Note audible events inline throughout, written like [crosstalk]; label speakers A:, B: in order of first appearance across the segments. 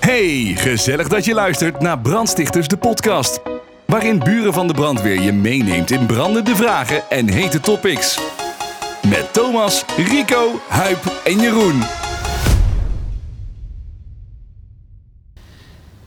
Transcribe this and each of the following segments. A: Hey, gezellig dat je luistert naar Brandstichters de podcast. Waarin buren van de brandweer je meeneemt in brandende vragen en hete topics. Met Thomas, Rico, Huip en Jeroen.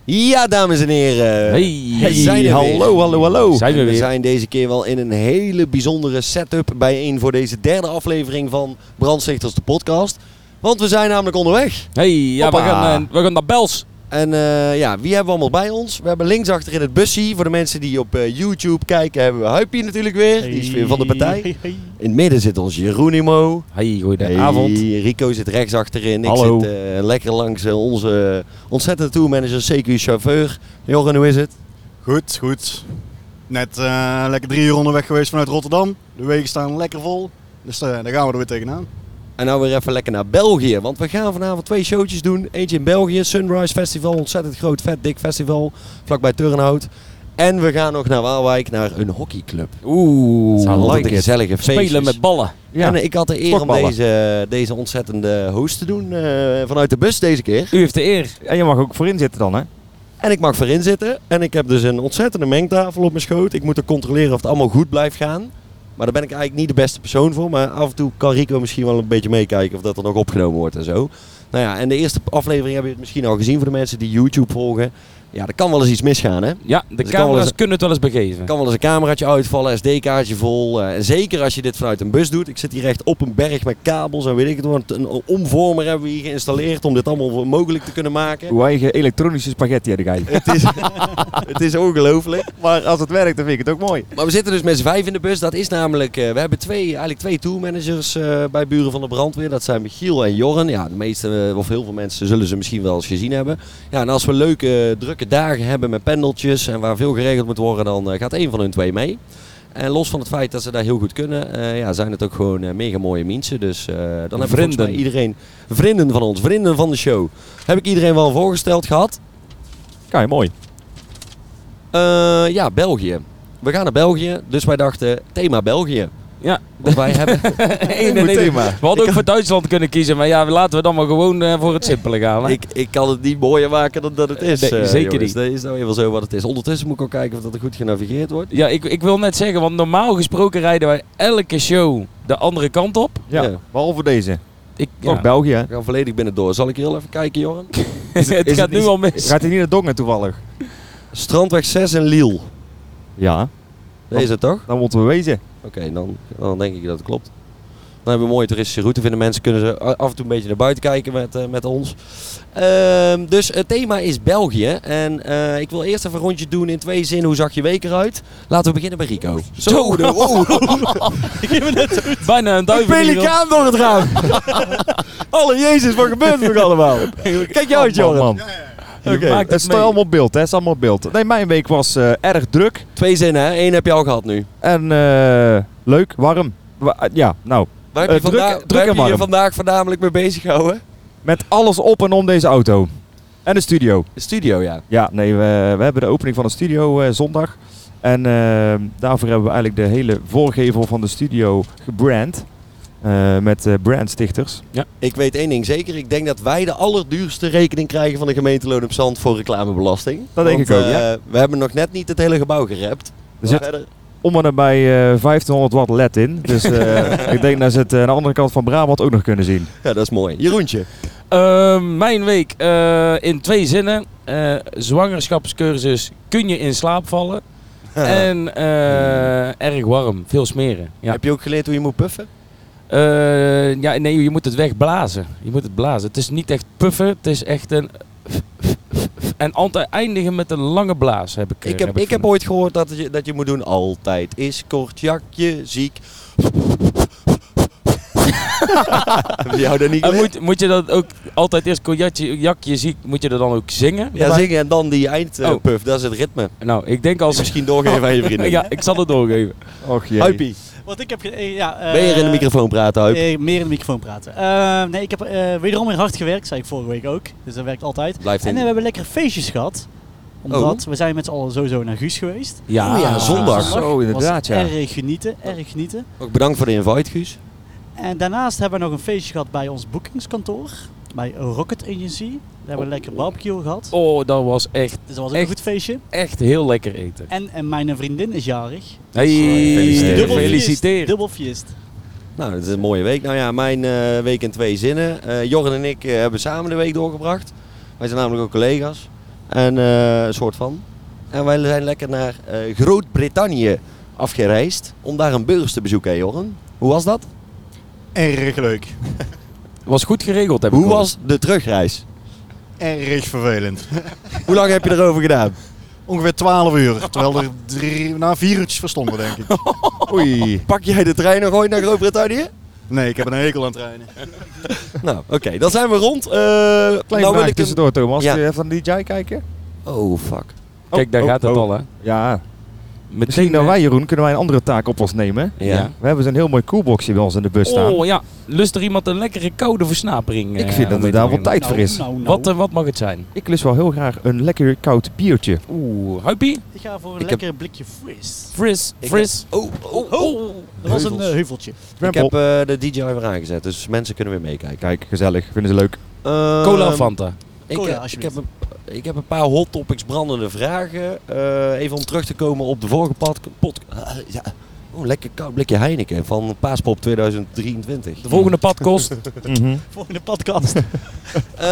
B: Ja, dames en heren.
C: Hey.
B: We zijn er
C: Hey,
B: hallo, hallo, hallo.
C: Zijn we
B: we
C: weer.
B: zijn deze keer wel in een hele bijzondere setup bijeen voor deze derde aflevering van Brandstichters de podcast. Want we zijn namelijk onderweg.
C: Hey, ja, we
B: Hoppa.
C: gaan, eh, we gaan naar Bels.
B: En eh, ja, wie hebben we allemaal bij ons? We hebben linksachter in het busje, voor de mensen die op eh, YouTube kijken, hebben we Huipie natuurlijk weer. Die is weer van de partij. In het midden zit ons Jeroenimo.
C: Hey,
B: Avond.
C: goedenavond.
B: Rico zit rechts achterin. Ik
C: Hallo.
B: zit eh, lekker langs eh, onze ontzettende tourmanager, CQ-chauffeur. Jorgen, hoe is het?
D: Goed, goed. Net eh, lekker drie uur onderweg geweest vanuit Rotterdam. De wegen staan lekker vol. Dus eh, daar gaan we er weer tegenaan.
B: En nou weer even lekker naar België. Want we gaan vanavond twee showtjes doen. Eentje in België, Sunrise Festival. Ontzettend groot, vet, dik festival. Vlakbij Turnhout. En we gaan nog naar Waalwijk, naar een hockeyclub.
C: Oeh,
B: Altijd
C: like
B: een
C: it.
B: gezellige feestjes.
C: Spelen met ballen. Ja.
B: En eh, ik had de eer om
C: Stokballen.
B: deze, deze ontzettende host te doen. eh, vanuit de bus deze keer.
C: U heeft de eer.
E: En je mag ook voorin zitten dan, hè?
B: En ik mag voorin zitten. En ik heb dus een ontzettende mengtafel op mijn schoot. Ik moet er controleren of het allemaal goed blijft gaan. Maar daar ben ik eigenlijk niet de beste persoon voor. Maar af en toe kan Rico misschien wel een beetje meekijken of dat er nog opgenomen wordt en zo. Nou ja, en de eerste aflevering hebben je het misschien al gezien voor de mensen die YouTube volgen. Ja, er kan wel eens iets misgaan, hè?
C: Ja, de
B: Dus ik kan wel
C: camera's
B: eens-
C: kunnen het wel eens begeven.
B: Er kan wel eens een cameraatje uitvallen, SD-kaartje vol. eh, en zeker als je dit vanuit een bus doet. Ik zit hier echt op een berg met kabels en weet ik het wat. Een omvormer hebben we hier geïnstalleerd om dit allemaal mogelijk te kunnen maken.
E: Uw eigen elektronische spaghetti heb jij.
B: Het is, het is ongelooflijk.
E: Maar als het werkt, dan vind ik het ook mooi.
B: Maar we zitten dus met z'n vijf in de bus. Dat is namelijk, eh, we hebben twee, eigenlijk twee tourmanagers eh, bij Buren van de Brandweer. Dat zijn Michiel en Jorren. Ja, de meeste, eh, of heel veel mensen zullen ze misschien wel eens gezien hebben. Ja, en als we leuke, eh, drukke dagen hebben met pendeltjes en waar veel geregeld moet worden, dan eh, gaat één van hun twee mee. En los van het feit dat ze daar heel goed kunnen, eh, ja, zijn het ook gewoon eh, mega mooie mensen. Dus eh, dan hebben we volgens mij
C: Vrienden.
B: iedereen, vrienden van ons, vrienden van de show. Heb ik iedereen wel voorgesteld gehad?
E: Kijk, mooi.
B: Eh, ja, België. We gaan naar België, dus wij dachten thema België.
C: Ja,
E: [laughs]
B: Want
C: [laughs]
B: wij hebben...
C: Eén en één.
E: thema.
C: We hadden ook voor Duitsland kunnen kiezen, maar ja, laten we dan maar gewoon eh, voor het simpele gaan. hè.
B: ik, ik kan het niet mooier maken dan dat het is.
C: Nee,
B: eh,
C: zeker
B: jongens.
C: niet.
B: Dat is nou even zo wat het is. Ondertussen moet ik ook kijken of dat er goed genavigeerd wordt.
C: Ja, ik, ik wil net zeggen, want normaal gesproken rijden wij elke show de andere kant op.
E: Ja,
B: Ja.
E: behalve deze.
C: Ik,
E: Toch
C: ja.
E: België, hè?
B: We gaan volledig binnendoor. Zal ik heel even kijken, Joran?
C: [laughs] het
E: Is
C: gaat nu
E: is-
C: al mis.
E: Gaat hij niet naar Dongen toevallig?
B: Strandweg 6 en Liel.
E: Ja.
B: Dat is het toch?
E: Dan moeten we wezen.
B: Oké, dan, dan denk ik dat het klopt. Dan hebben we een mooie toeristische route. Vinden mensen kunnen ze af en toe een beetje naar buiten kijken met, eh, met ons. Ehm, dus het thema is België. En eh, ik wil eerst even een rondje doen in twee zinnen. Hoe zag je week eruit? Laten we beginnen bij Rico.
C: Zo.
B: de- [laughs] wow.
C: Bijna een
B: Een
C: duivel. in ieder geval.
B: pelikaan door het raam. Alle Oh, jezus, wat gebeurt er nog
E: [laughs]
B: allemaal? Kijk jou uit,
E: Oh, Man,
B: Joran.
E: man.
C: Je
E: Oké,
C: maakt
E: Het
C: het
E: staat
C: mee.
E: allemaal op beeld, hè? Het is allemaal op beeld. Nee, mijn week was eh, erg druk
B: Twee zinnen, hè? Eén heb je al gehad nu.
E: en eh, leuk, warm. Wa- ja, nou,
B: Waar heb je,
E: Eh, druk-
B: vanda-
E: druk
B: waar
E: en
B: heb je je
E: warm.
B: vandaag voornamelijk mee bezig gehouden?
E: met alles op en om deze auto. En de studio.
B: De studio, ja.
E: Ja, nee, we, we hebben de opening van de studio eh, zondag. En eh, daarvoor hebben we eigenlijk de hele voorgevel van de studio gebrand. Eh, met eh, brandstichters.
B: Ik weet één ding zeker. Ik denk dat wij de allerduurste rekening krijgen van de gemeente Loon op Zand voor reclamebelasting.
E: Dat denk ik ook,
B: eh,
E: ja.
B: We hebben nog net niet het hele gebouw gerept.
E: Er zit
B: Verder-
E: om en nabij eh 1500 watt LED in.
B: [laughs]
E: Dus eh, ik denk dat ze het eh, aan de andere kant van Brabant ook nog kunnen zien.
B: Ja, dat is mooi. Jeroentje.
C: Ehm, mijn week eh, in twee zinnen. Eh, zwangerschapscursus kun je in slaap vallen. en eh, erg warm, veel smeren. Ja.
B: eh, Heb je ook geleerd hoe je moet puffen?
C: Eh, ja, nee, je moet het wegblazen. Je moet het blazen. Het is niet echt puffen, het is echt een. En altijd eindigen met een lange blaas heb ik. eh,
B: Ik heb, ik heb
C: gevonden.
B: ooit gehoord dat je, dat je moet doen altijd. Is kort jakje ziek. [laughs] Heb je jou daar niet
C: En
B: geleerd?
C: moet, moet je dat ook altijd eerst kojakje, jakje ziek, moet je dat dan ook zingen?
B: Ja, zingen en dan die eindpuff.
C: Oh.
B: puff. dat is het ritme.
C: Nou, ik denk
B: Als
C: als.
B: misschien doorgeven aan je vrienden.
C: [laughs] ja, ik zal het doorgeven.
E: Och jee.
B: Huipie,
F: Wat ik heb. ge- eh, Ja, eh,
B: ben je in de microfoon praten, Huip?
F: eh, meer in de microfoon praten. Eh, nee, ik heb eh, wederom weer hard gewerkt, zei ik vorige week ook. Dus dat werkt altijd.
B: Blijft
F: En eh, we
B: in.
F: hebben lekkere feestjes gehad. Omdat we zijn met z'n allen sowieso naar Guus geweest.
C: Ja,
B: Oh ja, zondag.
E: Zo, inderdaad,
F: Was
E: ja.
F: Erg genieten, erg genieten.
B: Ook bedankt voor de invite, Guus.
F: En daarnaast hebben we nog een feestje gehad bij ons boekingskantoor. bij Rocket Agency. Daar hebben we een lekker barbecue gehad.
C: Oh, dat was echt,
F: Dus dat was ook een
C: Echt?
F: goed feestje.
C: echt heel lekker eten.
F: En, en mijn vriendin is jarig. Dus
C: Hey,
E: Gefeliciteerd.
C: Dus gefeliciteerd.
E: Dubbel
F: Dubbel fiest.
B: Nou, het is een mooie week. Nou ja, mijn eh, week in twee zinnen. Eh Jorren en ik eh, hebben samen de week doorgebracht. Wij zijn namelijk ook collega's. En eh, een soort van. En wij zijn lekker naar eh, Groot-Brittannië afgereisd. Om daar een beurs te bezoeken, hè, Jorren. Hoe was dat?
D: Erg leuk.
C: Was goed geregeld, heb ik
B: Hoe
C: gehoord.
B: was de terugreis?
D: Erg vervelend.
B: Hoe lang heb je erover [laughs] gedaan?
D: Ongeveer 12 uur. Terwijl er drie, na vier uurtjes verstonden, denk ik.
E: Oei.
B: Oh, Pak jij de trein nog ooit naar Groot-Brittannië?
D: Nee, ik heb een hekel aan trainen.
B: Nou, oké. Dan zijn we rond. Eh, nou
E: Klein
B: wil
E: vraag
B: ik een...
E: tussendoor, Thomas.
B: Ja.
E: Kun je even naar de DJ kijken?
B: Oh, fuck.
C: Kijk, daar
E: Oh,
C: gaat het
E: oh.
C: al, hè.
E: Ja.
C: Meteen
E: Misschien dan
C: eh,
E: wij, Jeroen, kunnen wij een andere taak op ons nemen.
B: Ja.
C: Ja.
E: We hebben zo'n heel mooi koelboxje bij ons in de bus staan.
C: Oh ja, lust er iemand een lekkere koude versnapering?
E: Ik
C: eh,
E: vind dat
C: om
E: er
C: mee te
E: daar wel
C: beginnen?
E: tijd voor is.
F: Nou, nou,
C: Wat,
F: nou.
C: eh, wat mag het zijn?
E: Ik lust wel heel graag een lekker koud biertje.
C: Oeh, huipie?
F: Ik ga voor een
B: Ik heb-
F: lekker blikje fris.
C: Fris,
B: Ik
C: fris.
B: Oh, oh, oh.
F: Dat was een
B: Heuvels.
F: eh, heuveltje.
B: Ik
E: Drempel.
B: heb eh, de DJ weer aangezet, dus mensen kunnen weer meekijken.
E: Kijk, gezellig. Vinden ze leuk.
B: Ehm,
C: Cola of Fanta?
B: Ik,
F: Cola,
B: eh, ik,
F: alsjeblieft.
B: heb een, ik heb een paar hot topics brandende vragen. Eh, even om terug te komen op de vorige pod, pod- ah, ja. Oh, lekker koud blikje Heineken van Paaspop 2023.
C: De volgende
E: mm.
C: pad kost.
F: Volgende podcast.
C: [laughs]
B: Eh,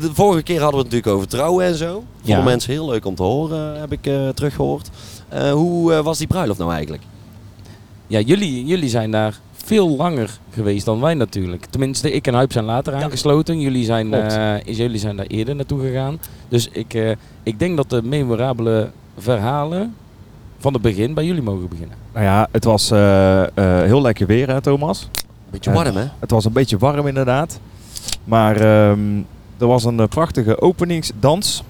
B: de vorige keer hadden we het natuurlijk over trouwen en zo. Voor
C: Ja.
B: mensen heel leuk om te horen, heb ik eh, teruggehoord. Eh, hoe eh, was die bruiloft nou eigenlijk?
C: Ja, jullie, jullie zijn daar veel langer geweest dan wij natuurlijk. Tenminste, ik en Huip zijn later aangesloten. Jullie zijn,
E: Klopt.
C: eh, is- jullie zijn daar eerder naartoe gegaan. Dus ik, eh, ik denk dat de memorabele verhalen van het begin bij jullie mogen beginnen.
E: Nou ja, het was eh, eh, heel lekker weer, hè, Thomas?
B: Beetje
E: Eh,
B: warm, hè?
E: Het was een beetje warm inderdaad. Maar ehm, er was een eh, prachtige openingsdans.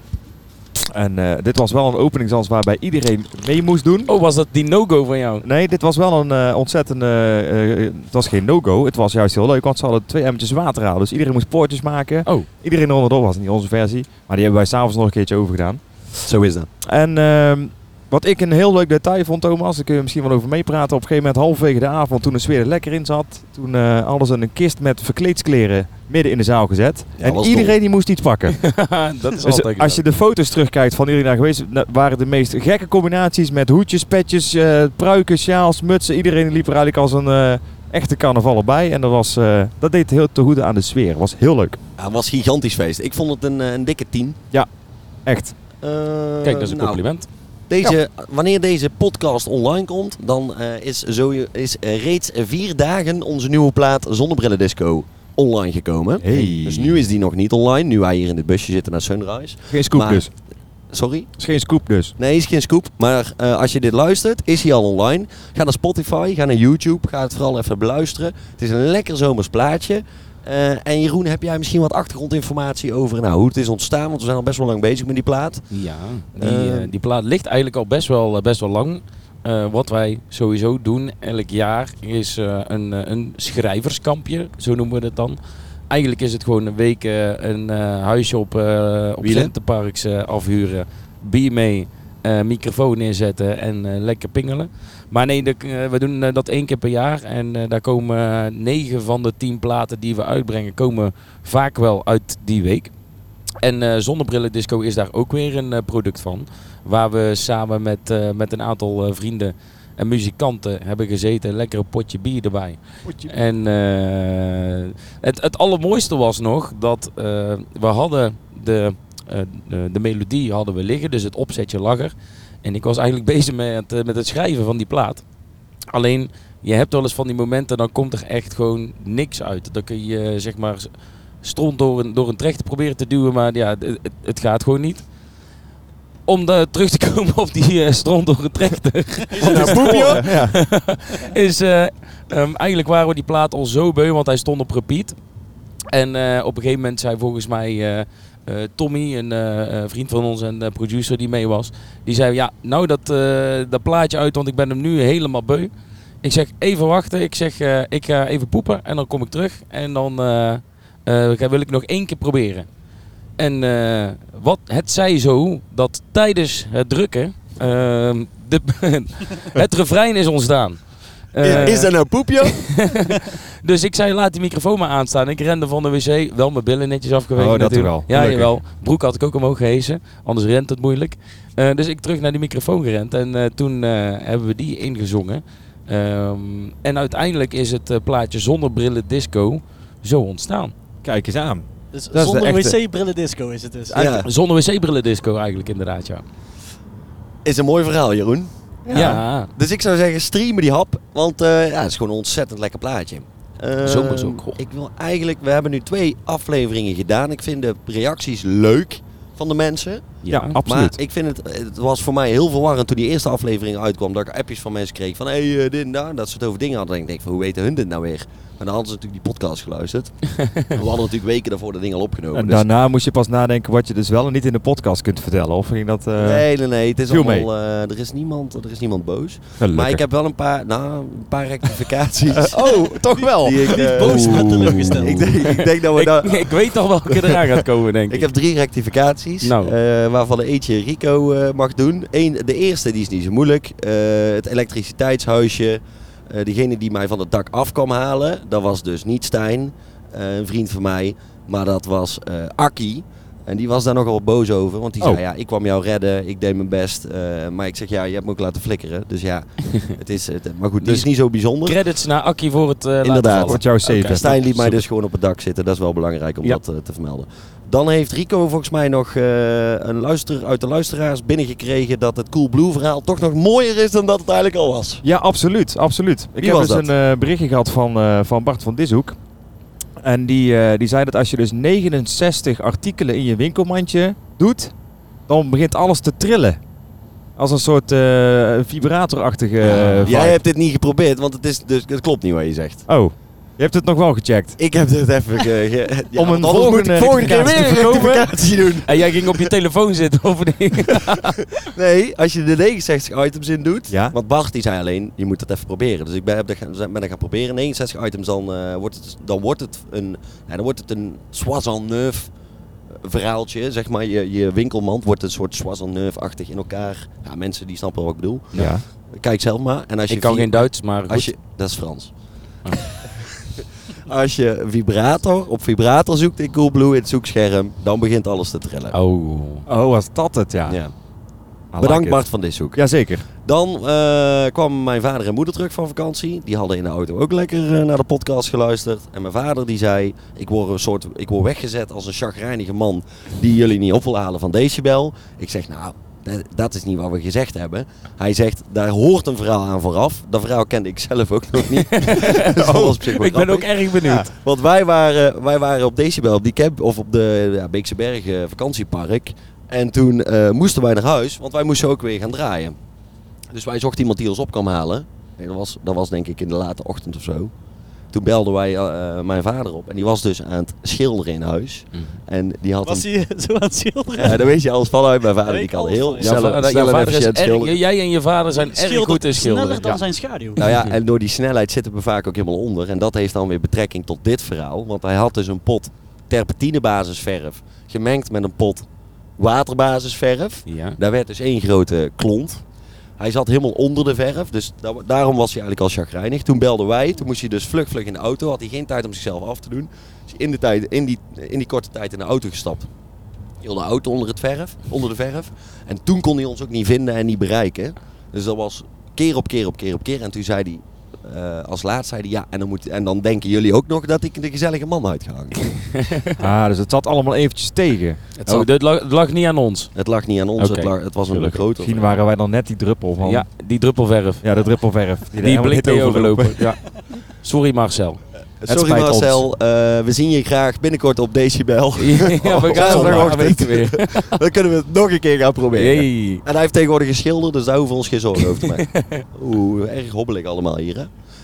E: En eh, dit was wel een openingsdans waarbij iedereen mee moest doen.
C: Oh, was dat die no-go van jou?
E: Nee, dit was wel een eh, ontzettend... eh, eh, het was geen no-go. Het was juist heel leuk, want ze hadden twee emmertjes water halen. Dus iedereen moest poortjes maken.
C: Oh.
E: Iedereen eronder was, niet onze versie. Maar die hebben wij s'avonds nog een keertje overgedaan.
B: Zo is dat.
E: En ehm, wat ik een heel leuk detail vond, Thomas, daar kun je misschien wel over meepraten. Op een gegeven moment, halverwege de avond, toen de sfeer er lekker in zat, toen eh alles in een kist met verkleedskleren midden in de zaal gezet.
B: Ja,
E: en
B: was
E: iedereen
B: dol.
E: die moest iets pakken.
C: dat is
E: dus
C: altijd
E: als je de foto's terugkijkt van iedereen daar geweest, na- waren de meest gekke combinaties met hoedjes, petjes, eh, pruiken, sjaals, mutsen. Iedereen liep er eigenlijk als een eh, echte carnaval bij. En dat, was, eh, dat deed heel te goede aan de sfeer. Was heel leuk.
B: Ja, het was een gigantisch feest. Ik vond het een, eh, een dikke tien. Eh, nou,
E: Echt.
C: Kijk, dat is een
B: compliment.
C: compliment.
B: Deze, Wanneer deze podcast online komt, dan eh, is, zo, is eh, reeds vier dagen onze nieuwe plaat Zonnebrillen Disco online gekomen.
E: Hey.
B: Dus nu is die nog niet online, nu wij hier in dit busje zitten naar Sunrise.
E: Geen scoop
B: Maar-
E: dus.
B: Sorry?
E: Is geen scoop dus.
B: Nee, is geen scoop. Maar eh, als je dit luistert, is hij al online. Ga naar Spotify, ga naar YouTube, ga het vooral even beluisteren. Het is een lekker zomers plaatje. Eh, en Jeroen, heb jij misschien wat achtergrondinformatie over nou, hoe het is ontstaan? Want we zijn al best wel lang bezig met die plaat.
C: Ja, die,
B: Eh,
C: eh, die plaat ligt eigenlijk al best wel, eh, best wel lang. Eh, wat wij sowieso doen elk jaar is eh, een, eh, een schrijverskampje, zo noemen we dat dan. Eigenlijk is het gewoon een week eh, een eh, huisje op, eh op
B: Wielen.
C: Centerparks eh, afhuren, bier mee, eh, microfoon neerzetten en eh, lekker pingelen. Maar nee, de- eh, we doen eh, dat één keer per jaar en eh, daar komen eh, negen van de tien platen die we uitbrengen, komen vaak wel uit die week. En eh Zonnebrillen Disco is daar ook weer een eh, product van. Waar we samen met, eh, met een aantal eh, vrienden en muzikanten hebben gezeten. Lekker een potje bier erbij. En eh, het, het allermooiste was nog dat eh, we hadden de, eh, de, de melodie hadden we liggen. Dus het opzetje lag er. En ik was eigenlijk [laughs] bezig met, het, eh, met het schrijven van die plaat. Alleen, je hebt wel eens van die momenten, dan komt er echt gewoon niks uit. Dan kun je eh, zeg maar stront door een, door een trechter proberen te duwen, maar ja, het, het- het gaat gewoon niet. Om daar terug te [laughs] komen op die eh, stront door een [laughs] trechter,
E: Ja.
C: [laughs] is eh, ehm, eigenlijk waren we die plaat al zo beu, want hij stond op repeat. En eh, op een gegeven moment zei volgens mij eh, eh, Tommy, een eh, eh, vriend van ons en eh, producer die mee was, die zei ja, nou dat, eh, dat plaatje uit, want ik ben hem nu helemaal beu. Ik zeg even wachten, ik zeg eh, ik ga even poepen en dan kom ik terug en dan eh, eh, ga- wil ik nog één keer proberen. En eh, wat, het zij zo dat [laughs] tijdens het drukken ehm, de, het refrein is ontstaan. Eh,
G: is dat nou poepje?
C: Dus ik zei, laat die microfoon maar aanstaan. Ik rende van de wc, wel mijn billen netjes afgewegen
E: Oh, dat
C: natuurlijk.
E: wel.
C: Ja,
E: Gelukkig.
C: jawel. Broek had ik ook omhoog gehezen, anders rent het moeilijk. Eh, dus ik terug naar die microfoon gerend en eh, toen eh, hebben we die ingezongen. Ehm, en uiteindelijk is het eh, plaatje Zonder Brillen Disco zo ontstaan.
E: Kijk eens aan.
F: Dus
E: de
F: zonder
E: echte.
F: wc-brillen disco is het dus.
B: Ja.
F: Ja.
C: Zonder wc-brillen disco eigenlijk inderdaad, ja.
B: [laughs] Is een mooi verhaal, Jeroen.
C: Ja,
B: Dus ik zou zeggen, streamen die hap. Want eh, ja, het is gewoon een ontzettend lekker plaatje. Eh,
C: Zomers ook, goh.
B: Ik wil eigenlijk, we hebben nu twee afleveringen gedaan. Ik vind de reacties leuk van de mensen.
E: Ja,
C: ja.
E: absoluut.
B: Maar ik vind het, het was voor mij heel verwarrend toen die eerste aflevering uitkwam. Dat ik appjes van mensen kreeg van, hé, hey, eh, dit en dat. Dat ze het over dingen hadden. En ik denk van, hoe weten hun dit nou weer? Maar dan hadden ze natuurlijk die podcast geluisterd. we hadden natuurlijk weken daarvoor dat ding al opgenomen.
E: En
B: dus-
E: daarna moest je pas nadenken wat je dus wel en niet in de podcast kunt vertellen. Of ging dat... eh,
B: nee, nee, nee. Het is
E: viel
B: allemaal, eh, er, is niemand, er is niemand boos.
E: gelukkig.
B: Maar ik heb wel een paar, nou, een
E: [laughs]
B: paar rectificaties.
G: oh, toch wel.
B: die ik, eh,
F: Boos maar teleurgesteld.
B: Ik denk, ik denk dat we
C: Ik,
B: daar...
C: [laughs] ik weet toch welke eraan gaat komen, denk
B: [laughs]
C: ik.
B: Ik heb drie rectificaties,
C: Nou.
B: eh, waarvan er eentje Rico eh, mag doen. Eén, de eerste, die is niet zo moeilijk. Eh, het elektriciteitshuisje, eh, degene die mij van het dak af kwam halen, dat was dus niet Stijn, eh, een vriend van mij, maar dat was eh Akkie. En die was daar nogal boos over, want die
E: Oh.
B: zei ja, ik kwam jou redden, ik deed mijn best. eh, maar ik zeg ja, je hebt me ook laten flikkeren, dus ja,
C: [laughs]
B: het is, het, maar goed, die
C: Dus
B: is niet zo bijzonder.
C: Credits naar Akkie voor het eh laten
B: Inderdaad.
C: vallen.
E: Wordt jouw zeven.
C: Oké.
B: Stijn liet mij
C: Super.
B: dus gewoon op het dak zitten. Dat is wel belangrijk om
C: Ja.
B: dat eh, te vermelden. Dan heeft Rico volgens mij nog eh, een luister uit de luisteraars binnengekregen dat het Cool Blue verhaal toch nog mooier is dan dat het eigenlijk al was.
E: Ja, absoluut. absoluut. Ik
B: Wie
E: heb
B: was dat?
E: dus een eh, berichtje gehad van, eh, van Bart van Dishoek. En die, eh, die zei dat als je dus 69 artikelen in je winkelmandje doet, dan begint alles te trillen. Als een soort eh, vibratorachtige eh, vibe.
B: Jij hebt dit niet geprobeerd, want het, is dus, het klopt niet wat je
E: [laughs]
B: zegt.
E: Oh, je hebt het nog wel gecheckt.
B: Ik heb dit even ge- ge- ja,
E: Om een
B: want anders moet ik
E: volgende
B: volgende keer weer
E: rectificatie
B: een
E: te voorkomen.
B: rectificatie doen.
C: En jij ging op je telefoon zitten over de...
B: Nee, als je de 69 items in doet.
E: Ja.
B: Want Bart die zei alleen, je moet dat even proberen. Dus ik ben, heb dat, gaan- ben dat gaan proberen. 69 items, dan, eh, wordt, het, dan wordt het een, nou, dan wordt het een soissonneuf verhaaltje. Zeg maar, je, je winkelmand wordt een soort soissonneuf-achtig in elkaar. Ja, mensen die snappen wat ik bedoel.
E: Ja.
B: Kijk zelf maar. En als je
C: Ik kan
B: vier-
C: geen Duits, maar goed.
B: als je, dat is Frans. [laughs] als je vibrator op vibrator zoekt in Coolblue, in het zoekscherm, dan begint alles te trillen.
C: Oh.
E: Oh, was dat het, ja.
B: Ja.
E: I like
B: Bedankt
E: it.
B: Bart van Dishoek.
E: Jazeker.
B: [laughs] Dan eh, kwamen mijn vader en moeder terug van vakantie. Die hadden in de auto ook lekker eh, naar de podcast geluisterd. En mijn vader die zei, ik word, een soort, ik word weggezet als een chagrijnige man die jullie niet op wil halen van decibel. Ik zeg, nou, dat, dat is niet wat we gezegd hebben. Hij zegt, daar hoort een verhaal aan vooraf. Dat verhaal kende ik zelf ook nog niet. [laughs] Dus dat was op zich wel
C: Ik ben
B: grappig.
C: ook erg benieuwd.
B: Want wij waren, wij waren op Decibel, op die camp, of op de ja, Beekse Bergen vakantiepark. En toen eh, moesten wij naar huis, want wij moesten ook weer gaan draaien. Dus wij zochten iemand die ons op kwam halen. Nee, dat, was, dat was denk ik in de late ochtend of zo. Toen belden wij eh, eh, mijn vader op. En die was dus aan het schilderen in huis.
C: Hm.
B: En die had
F: Was
B: een...
F: hij eh, zo aan het schilderen?
B: Ja, daar weet je alles van uit. Mijn vader
F: Daar
B: die
F: weet ik
B: kan
F: alles
B: heel
F: van. Ja,
B: snel,
C: Jouw va-
B: snel
C: jouw
B: en
C: vader is
B: efficiënt
C: erg-
B: schilderen.
C: jij en je vader zijn erg
F: Schildert
C: goed in schilderen.
F: Sneller dan
C: Ja.
F: zijn schaduw.
B: [laughs] Nou ja, en door die snelheid zitten we vaak ook helemaal onder. En dat heeft dan weer betrekking tot dit verhaal. Want hij had dus een pot terpentinebasisverf gemengd met een pot waterbasisverf.
C: Ja.
B: Daar werd dus één grote klont. Hij zat helemaal onder de verf, dus da- daarom was hij eigenlijk al chagrijnig. Toen belden wij, toen moest hij dus vlug vlug in de auto. Had hij geen tijd om zichzelf af te doen. Dus in, de tijd, in, die, in die korte tijd in de auto gestapt. Heel de auto onder, het verf, onder de verf. En toen kon hij ons ook niet vinden en niet bereiken. Dus dat was keer op keer op keer op keer. En toen zei hij, eh, als laatst zei hij ja. En dan, moet, en dan denken jullie ook nog dat ik de gezellige man uitgehangen. heb."
E: Ah, dus het zat allemaal eventjes tegen.
C: Het, zal- dit lag, het lag niet aan ons.
B: het lag niet aan ons,
C: Oké,
B: het, lag- het was een
C: gelukkig.
B: grote.
E: Misschien waren wij dan net die druppel van...
C: Ja, die druppelverf.
E: Ja, de druppelverf. er
C: Die
E: helemaal
C: blik
E: niet
C: mee
E: overlopen.
C: overlopen. Ja. Sorry [laughs] Marcel.
E: Het
B: Sorry
E: spijt ons.
B: Marcel, eh, we zien je graag binnenkort op Decibel.
C: ja, we gaan
B: zondag
C: nog
B: ochtend.
C: weten weer.
B: [laughs] Dan kunnen we het nog een keer gaan proberen.
C: Hey.
B: En hij heeft tegenwoordig een schilder, dus daar hoeven we ons geen zorgen over te
E: [laughs]
B: maken. Oeh, erg hobbelig allemaal hier, hè?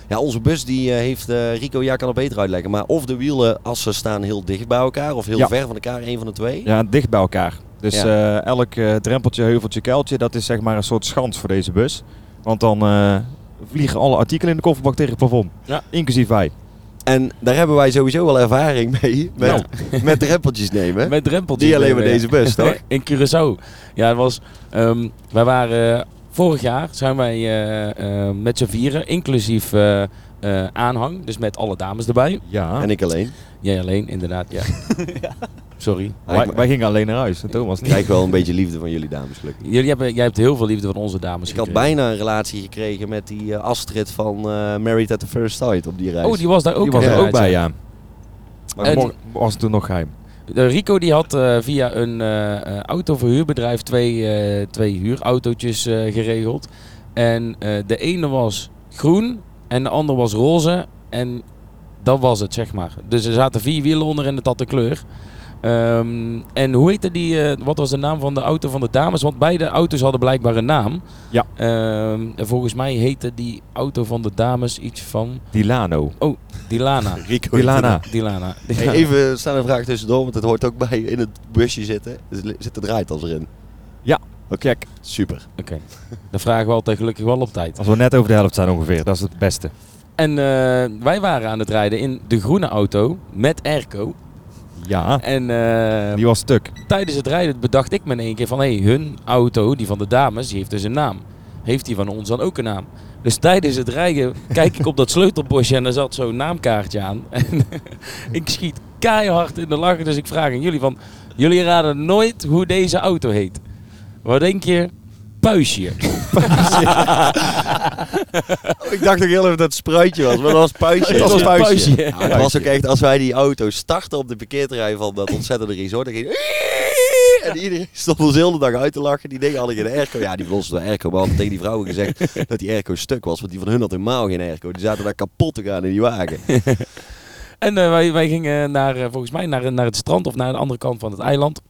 B: Ja, onze bus die eh, heeft, eh, Rico, ja kan het beter uitleggen, maar of de wielenassen staan heel dicht bij elkaar of heel
E: Ja.
B: ver van elkaar, een van de twee.
E: Ja, dicht bij elkaar. Dus
B: Ja.
E: eh, elk eh, drempeltje, heuveltje, kuiltje, dat is zeg maar een soort schans voor deze bus. Want dan eh, vliegen alle artikelen in de kofferbak tegen het plafond.
C: Ja.
E: Inclusief wij.
B: En daar hebben wij sowieso wel ervaring mee, met,
E: Nou.
B: [laughs] met drempeltjes nemen.
C: Met drempeltjes.
B: Niet alleen
C: nemen,
B: maar
C: ja.
B: deze bus, toch?
C: In Curaçao. Ja, het was... ehm, wij waren eh, Vorig jaar zijn wij eh, eh, met z'n vieren, inclusief eh, eh, aanhang, dus met alle dames erbij.
E: Ja.
B: En ik alleen.
C: Jij alleen, inderdaad,
B: [laughs]
C: ja. Sorry.
E: Wij, wij gingen alleen naar huis. En Thomas
B: Ik
E: niet.
B: krijg wel een beetje liefde van jullie dames, gelukkig.
C: Jullie hebben, jij hebt heel veel liefde van onze dames
B: Ik had
C: gekregen.
B: bijna een relatie gekregen met die eh, Astrid van eh, Married at the First Sight op die reis.
C: Oh, die was daar ook,
E: Die was er
C: eh,
E: ook bij, ja.
B: Maar
C: Eh,
E: Maar
B: mo-
E: mo- was toen nog geheim.
C: De Rico die had eh, via een eh, eh, autoverhuurbedrijf twee, eh, twee huurautootjes eh, geregeld. En eh, de ene was groen en de ander was roze. En dat was het, zeg maar. Dus er zaten vier wielen onder en het had de kleur. Ehm, en hoe heette die, eh, wat was de naam van de auto van de dames? Want beide auto's hadden blijkbaar een naam.
E: Ja.
C: Ehm, en volgens mij heette die auto van de dames iets van
E: Dilano.
C: Dilana. [laughs]
B: Rico.
E: Dilana.
C: Dilana.
B: Hey, even snel een vraag tussendoor, want het hoort ook bij in het busje zitten. Er li- zit de draaitas erin.
E: Ja.
B: Oké, super.
C: Oké, dan vragen we altijd gelukkig wel op tijd.
E: Als we net over de helft zijn ongeveer. Dat is het beste.
C: En eh, wij waren aan het rijden in de groene auto met airco.
E: Ja.
C: En eh,
E: Die was stuk.
C: tijdens het rijden bedacht ik me in één keer van... hé, hey, hun auto, die van de dames, die heeft dus een naam. Heeft die van ons dan ook een naam? Dus tijdens het rijden kijk ik op dat sleutelbosje en daar zat zo'n naamkaartje aan. [laughs] En ik schiet keihard in de lachen, dus ik vraag aan jullie van... jullie raden nooit hoe deze auto heet. Wat denk je? Puisje.
B: Oh, Ik dacht ook heel even dat het spruitje was, maar [laughs] dat was puitje.
C: Het was
B: Ja.
C: Puisje.
B: Ja, het was ook echt, als wij die auto starten op de parkeerterrein van dat ontzettende resort, dan ging [laughs] en iedereen stond ons heel de dag uit te lachen. Die dingen hadden geen airco. Ja, die verlossen de airco. We hadden tegen die vrouwen gezegd [laughs] dat die airco stuk was. Want die van hun had helemaal geen airco. Die zaten daar kapot te gaan in die wagen.
C: En eh, wij, wij gingen naar, eh, volgens mij naar, naar het strand of naar de andere kant van het eiland.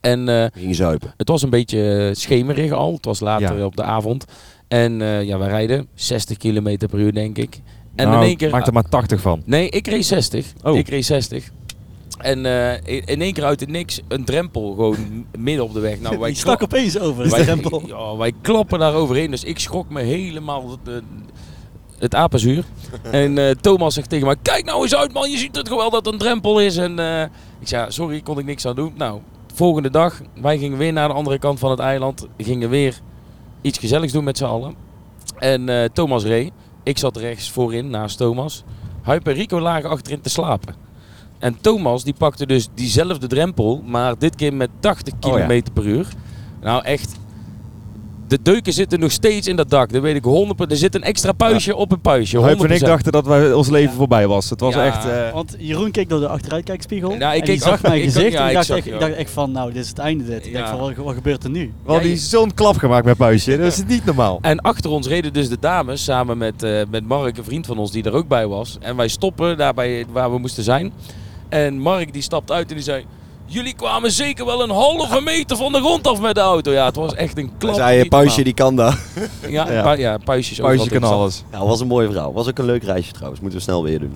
C: En eh,
B: We gingen zuipen.
C: het was een beetje eh, schemerig al. Het was later
E: Ja.
C: op de avond. En eh, ja, wij rijden 60 km per uur, denk ik. En
E: nou,
C: in één keer.
E: Maak er maar 80 van.
C: Nee, ik reed 60.
E: Oh.
C: Ik reed 60. En eh, in in één keer uit het niks een drempel gewoon midden op de weg. Nou, wij
F: Die stak
C: kla-
F: opeens over.
C: wij,
F: de drempel.
C: Ja, wij klappen daar overheen. Dus ik schrok me helemaal de- het apenzuur. en eh, Thomas zegt tegen mij, kijk nou eens uit man, je ziet het gewoon dat het een drempel is. En eh, ik zei, "Ja, sorry, kon ik niks aan doen. Nou, volgende dag, wij gingen weer naar de andere kant van het eiland. Gingen weer iets gezelligs doen met z'n allen. En eh, Thomas reed. Ik zat rechts voorin naast Thomas. Huip en Rico lagen achterin te slapen. En Thomas die pakte dus diezelfde drempel, maar dit keer met 80
E: Oh ja.
C: km per uur. Nou echt, de deuken zitten nog steeds in dat dak. Dat weet ik 100%. Er zit een extra puistje op een puistje. 100%.
E: Huip en ik dachten dat wij, ons leven
F: Ja.
E: voorbij was. Het was
C: Ja.
E: echt... eh,
F: Want Jeroen keek door de achteruitkijkspiegel.
C: Ja, ik
F: en die
C: keek
F: zag
C: achter-
F: mijn
C: ik-
F: gezicht.
C: ja,
F: en
C: ik
F: ik dacht,
C: zag
F: echt,
C: je.
F: ik dacht echt van, nou, dit is het einde dit. Ik
C: Ja.
F: dacht van, wat, wat gebeurt er nu?
E: we hadden
C: Ja,
E: die zo'n klap gemaakt met Puisje. Dat is niet normaal.
C: En achter ons reden dus de dames samen met, eh, met Mark, een vriend van ons die er ook bij was. En wij stoppen daar bij, waar we moesten zijn. En Mark die stapt uit en die zei... Jullie kwamen zeker wel een halve meter van de grond af met de auto. Ja, het was echt een klap.
B: Toen zei je,
C: niet normaal.
B: puisje die kan daar.
C: Ja,
E: Ja.
C: ja. ja puisjes. overal
E: Puisje kan
C: in de
E: alles.
B: Ja, was een mooie verhaal. Was ook een leuk reisje trouwens. Moeten we snel weer doen.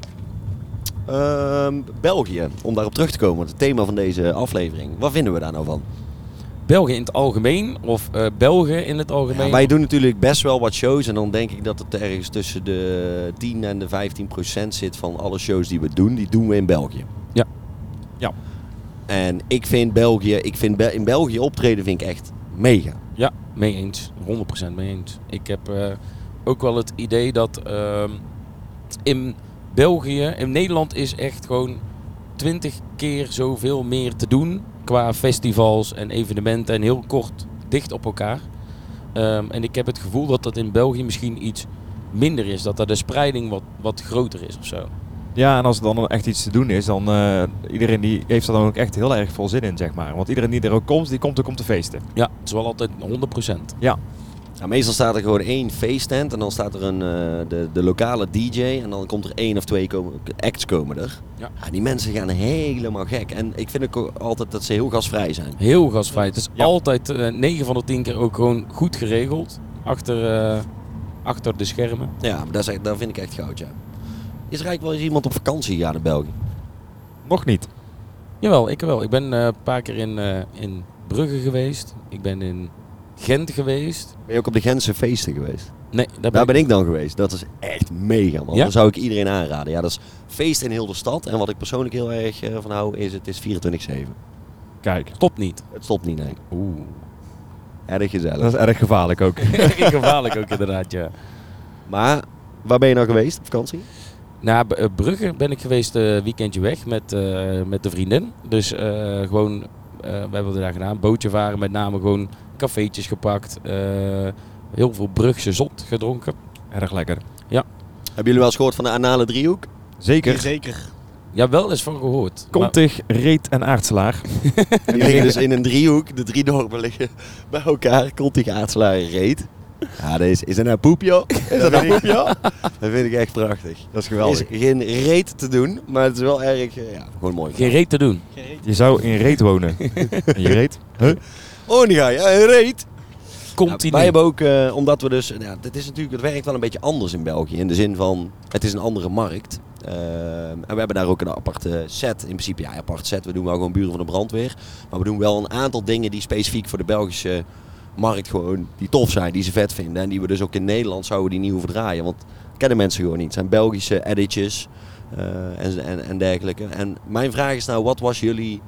B: Ehm, België, om daarop terug te komen. want Het thema van deze aflevering. Wat vinden we daar nou van?
C: stad. Belgen in het algemeen of eh, Belgen in het algemeen.
B: Wij doen natuurlijk best wel wat shows. En dan denk ik dat het ergens tussen de 10 en de 15 procent zit van alle shows die we doen. Die doen we in België.
C: Ja.
E: Ja.
B: En ik vind België, ik vind Bel- in België optreden vind ik echt mega.
C: Ja, mee eens. 100% mee eens. Ik heb eh, ook wel het idee dat ehm, in België, in Nederland is echt gewoon 20 keer zoveel meer te doen qua festivals en evenementen en heel kort dicht op elkaar. Ehm, en ik heb het gevoel dat dat in België misschien iets minder is, dat daar de spreiding wat, wat groter is of zo.
E: Ja, en als er dan echt iets te doen is, dan eh, iedereen die heeft er dan ook echt heel erg veel zin in, zeg maar. Want iedereen die er ook komt, die komt ook om te feesten.
C: Ja, het is wel altijd 100%.
B: Nou, meestal staat er gewoon één feesttent en dan staat er een, eh, de, de lokale DJ en dan komt er één of twee komen, acts komen er.
C: Ja.
B: die mensen gaan helemaal gek. En ik vind ook altijd dat ze heel gastvrij zijn.
C: Heel gastvrij. Het is
E: Ja.
C: altijd eh 9 van de 10 keer ook gewoon goed geregeld. Achter, eh, achter de schermen.
B: Ja, maar dat, is echt- dat vind ik echt goud, ja. Is er eigenlijk wel eens iemand op vakantie gegaan in België?
E: Nog niet.
C: Jawel, ik wel. Ik ben eh, een paar keer in, eh, in Brugge geweest. Ik ben in Gent geweest.
B: Ben je ook op de Gentse feesten geweest?
C: Nee, daar ben
B: Daar
C: ik-
B: ben ik dan geweest. Dat is echt mega, man.
C: Ja?
B: Dat zou ik iedereen aanraden. Ja, dat is feest in heel de stad. En wat ik persoonlijk heel erg eh, van hou, is het is 24-7.
E: Kijk.
C: Stopt niet.
B: Het stopt niet, nee.
C: Oeh.
B: En Erg gezellig.
E: Dat is [laughs] erg gevaarlijk ook.
C: Erg gevaarlijk
E: [laughs]
C: ook inderdaad, ja.
B: Maar waar ben je nou geweest op vakantie?
C: Naar B- eh, Brugge ben ik geweest eh weekendje weg met, eh, met de vriendin. Dus eh, gewoon, eh we hebben daar gedaan, bootje varen met name, gewoon cafeetjes gepakt. eh, heel veel Brugse zot gedronken.
E: Erg lekker.
B: Hebben jullie wel eens gehoord van de anale [laughs] driehoek?
E: Zeker.
F: Zeker.
C: Ja, wel eens van gehoord. Maar-
E: Kontig, reet en aartselaar.
B: Die liggen dus in een driehoek. De drie dorpen liggen bij elkaar. Contig aardslagen reed. Ja, dat is, is dat nou poep, [laughs] joh? Is dat nou poep, [laughs] joh? Dat vind ik echt prachtig.
D: Dat is
B: Er
D: geweldig.
B: is geen reet te doen, maar het is wel erg... eh, Ja, gewoon mooi.
C: geen reet te doen.
E: Je zou in reet [laughs] wonen. en je reet? Huh?
B: Oh, die ga je. Een reet.
C: Komt
B: Nou, wij
C: hij niet.
B: hebben ook, eh, omdat we dus, nou, dit is natuurlijk, het werkt wel een beetje anders in België. In de zin van, het is een andere markt. Ehm, en we hebben daar ook een aparte set. In principe, ja, apart set. We doen wel gewoon buren van de brandweer. Maar we doen wel een aantal dingen die specifiek voor de Belgische markt gewoon, die tof zijn, die ze vet vinden. En die we dus ook in Nederland zouden die niet hoeven draaien. Want dat kennen mensen gewoon niet. Het zijn Belgische editjes eh, en, en, en dergelijke. En mijn vraag is nou, wat was jullie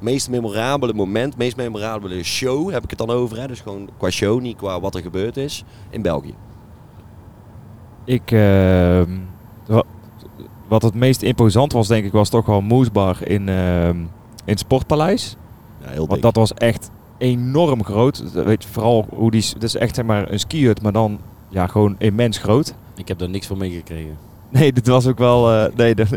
B: meest memorabele moment, meest memorabele show, heb ik het dan over. Hè? Dus gewoon qua show, niet qua wat er gebeurd is in België.
E: Ik, ehm, wa- wat het meest imposant was, denk ik, was toch wel Moesbar in, ehm, in het Sportpaleis.
B: Ja, heel
E: Want dat was echt enorm groot. Dat Weet je, vooral hoe die. s- Het is echt zeg maar een skihut, maar dan ja, gewoon immens groot. [laughs]
C: Ik heb daar niks van meegekregen.
E: Nee, dit was ook wel. eh, [laughs] nee, dat,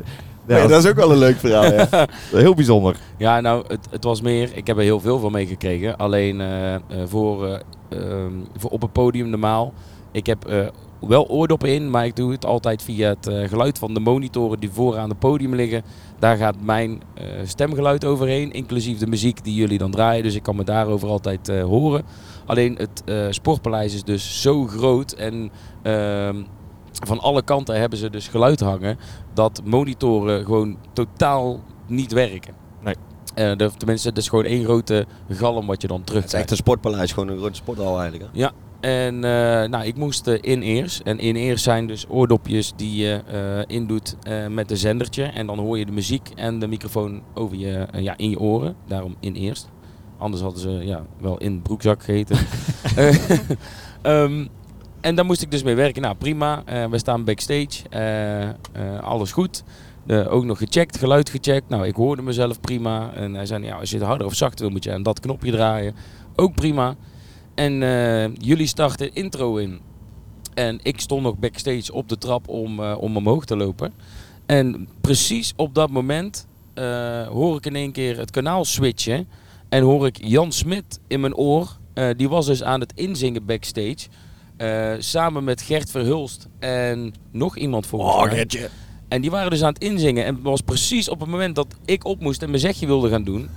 E: ja, dat
B: is ook wel een leuk verhaal. Ja.
E: is heel bijzonder.
C: Ja, nou, het, het was meer. Ik heb er heel veel van meegekregen. Alleen eh, eh, voor, eh, ehm, voor op het podium normaal. Ik heb eh, wel oordoppen in, maar ik doe het altijd via het eh, geluid van de monitoren die vooraan het podium liggen. Daar gaat mijn eh, stemgeluid overheen, inclusief de muziek die jullie dan draaien. Dus ik kan me daarover altijd eh, horen. Alleen het eh, sportpaleis is dus zo groot en ehm, van alle kanten hebben ze dus geluid hangen dat monitoren gewoon totaal niet werken. Eh, de- tenminste, het is gewoon één grote galm wat je dan terug
B: [laughs] Het is echt een sportpaleis, gewoon een grote sporthal eigenlijk. Hè?
C: En eh, nou, ik moest eh, in-ears. En in-ears zijn dus oordopjes die je eh, indoet eh, met een zendertje. En dan hoor je de muziek en de microfoon over je, eh, ja, in je oren. Daarom in-ears. Anders hadden ze ja, wel in broekzak geheten. [laughs] Eh, ehm, en daar moest ik dus mee werken. Nou, prima. Eh, we staan backstage. Eh, eh, alles goed. Eh, ook nog gecheckt, geluid gecheckt. Nou, ik hoorde mezelf prima. En hij zei, nou ja, als je het harder of zachter wil, moet je aan dat knopje draaien. Ook prima. En eh, jullie starten intro in. En ik stond nog backstage op de trap om, eh, om omhoog te lopen. En precies op dat moment eh, hoor ik in één keer het kanaal switchen. En hoor ik Jan Smit in mijn oor. Eh, die was dus aan het inzingen backstage. eh, samen met Gert Verhulst en nog iemand volgens
D: Oh,
C: mij. En die waren dus aan het inzingen. En het was precies op het moment dat ik op moest en mijn zegje wilde gaan [laughs] doen.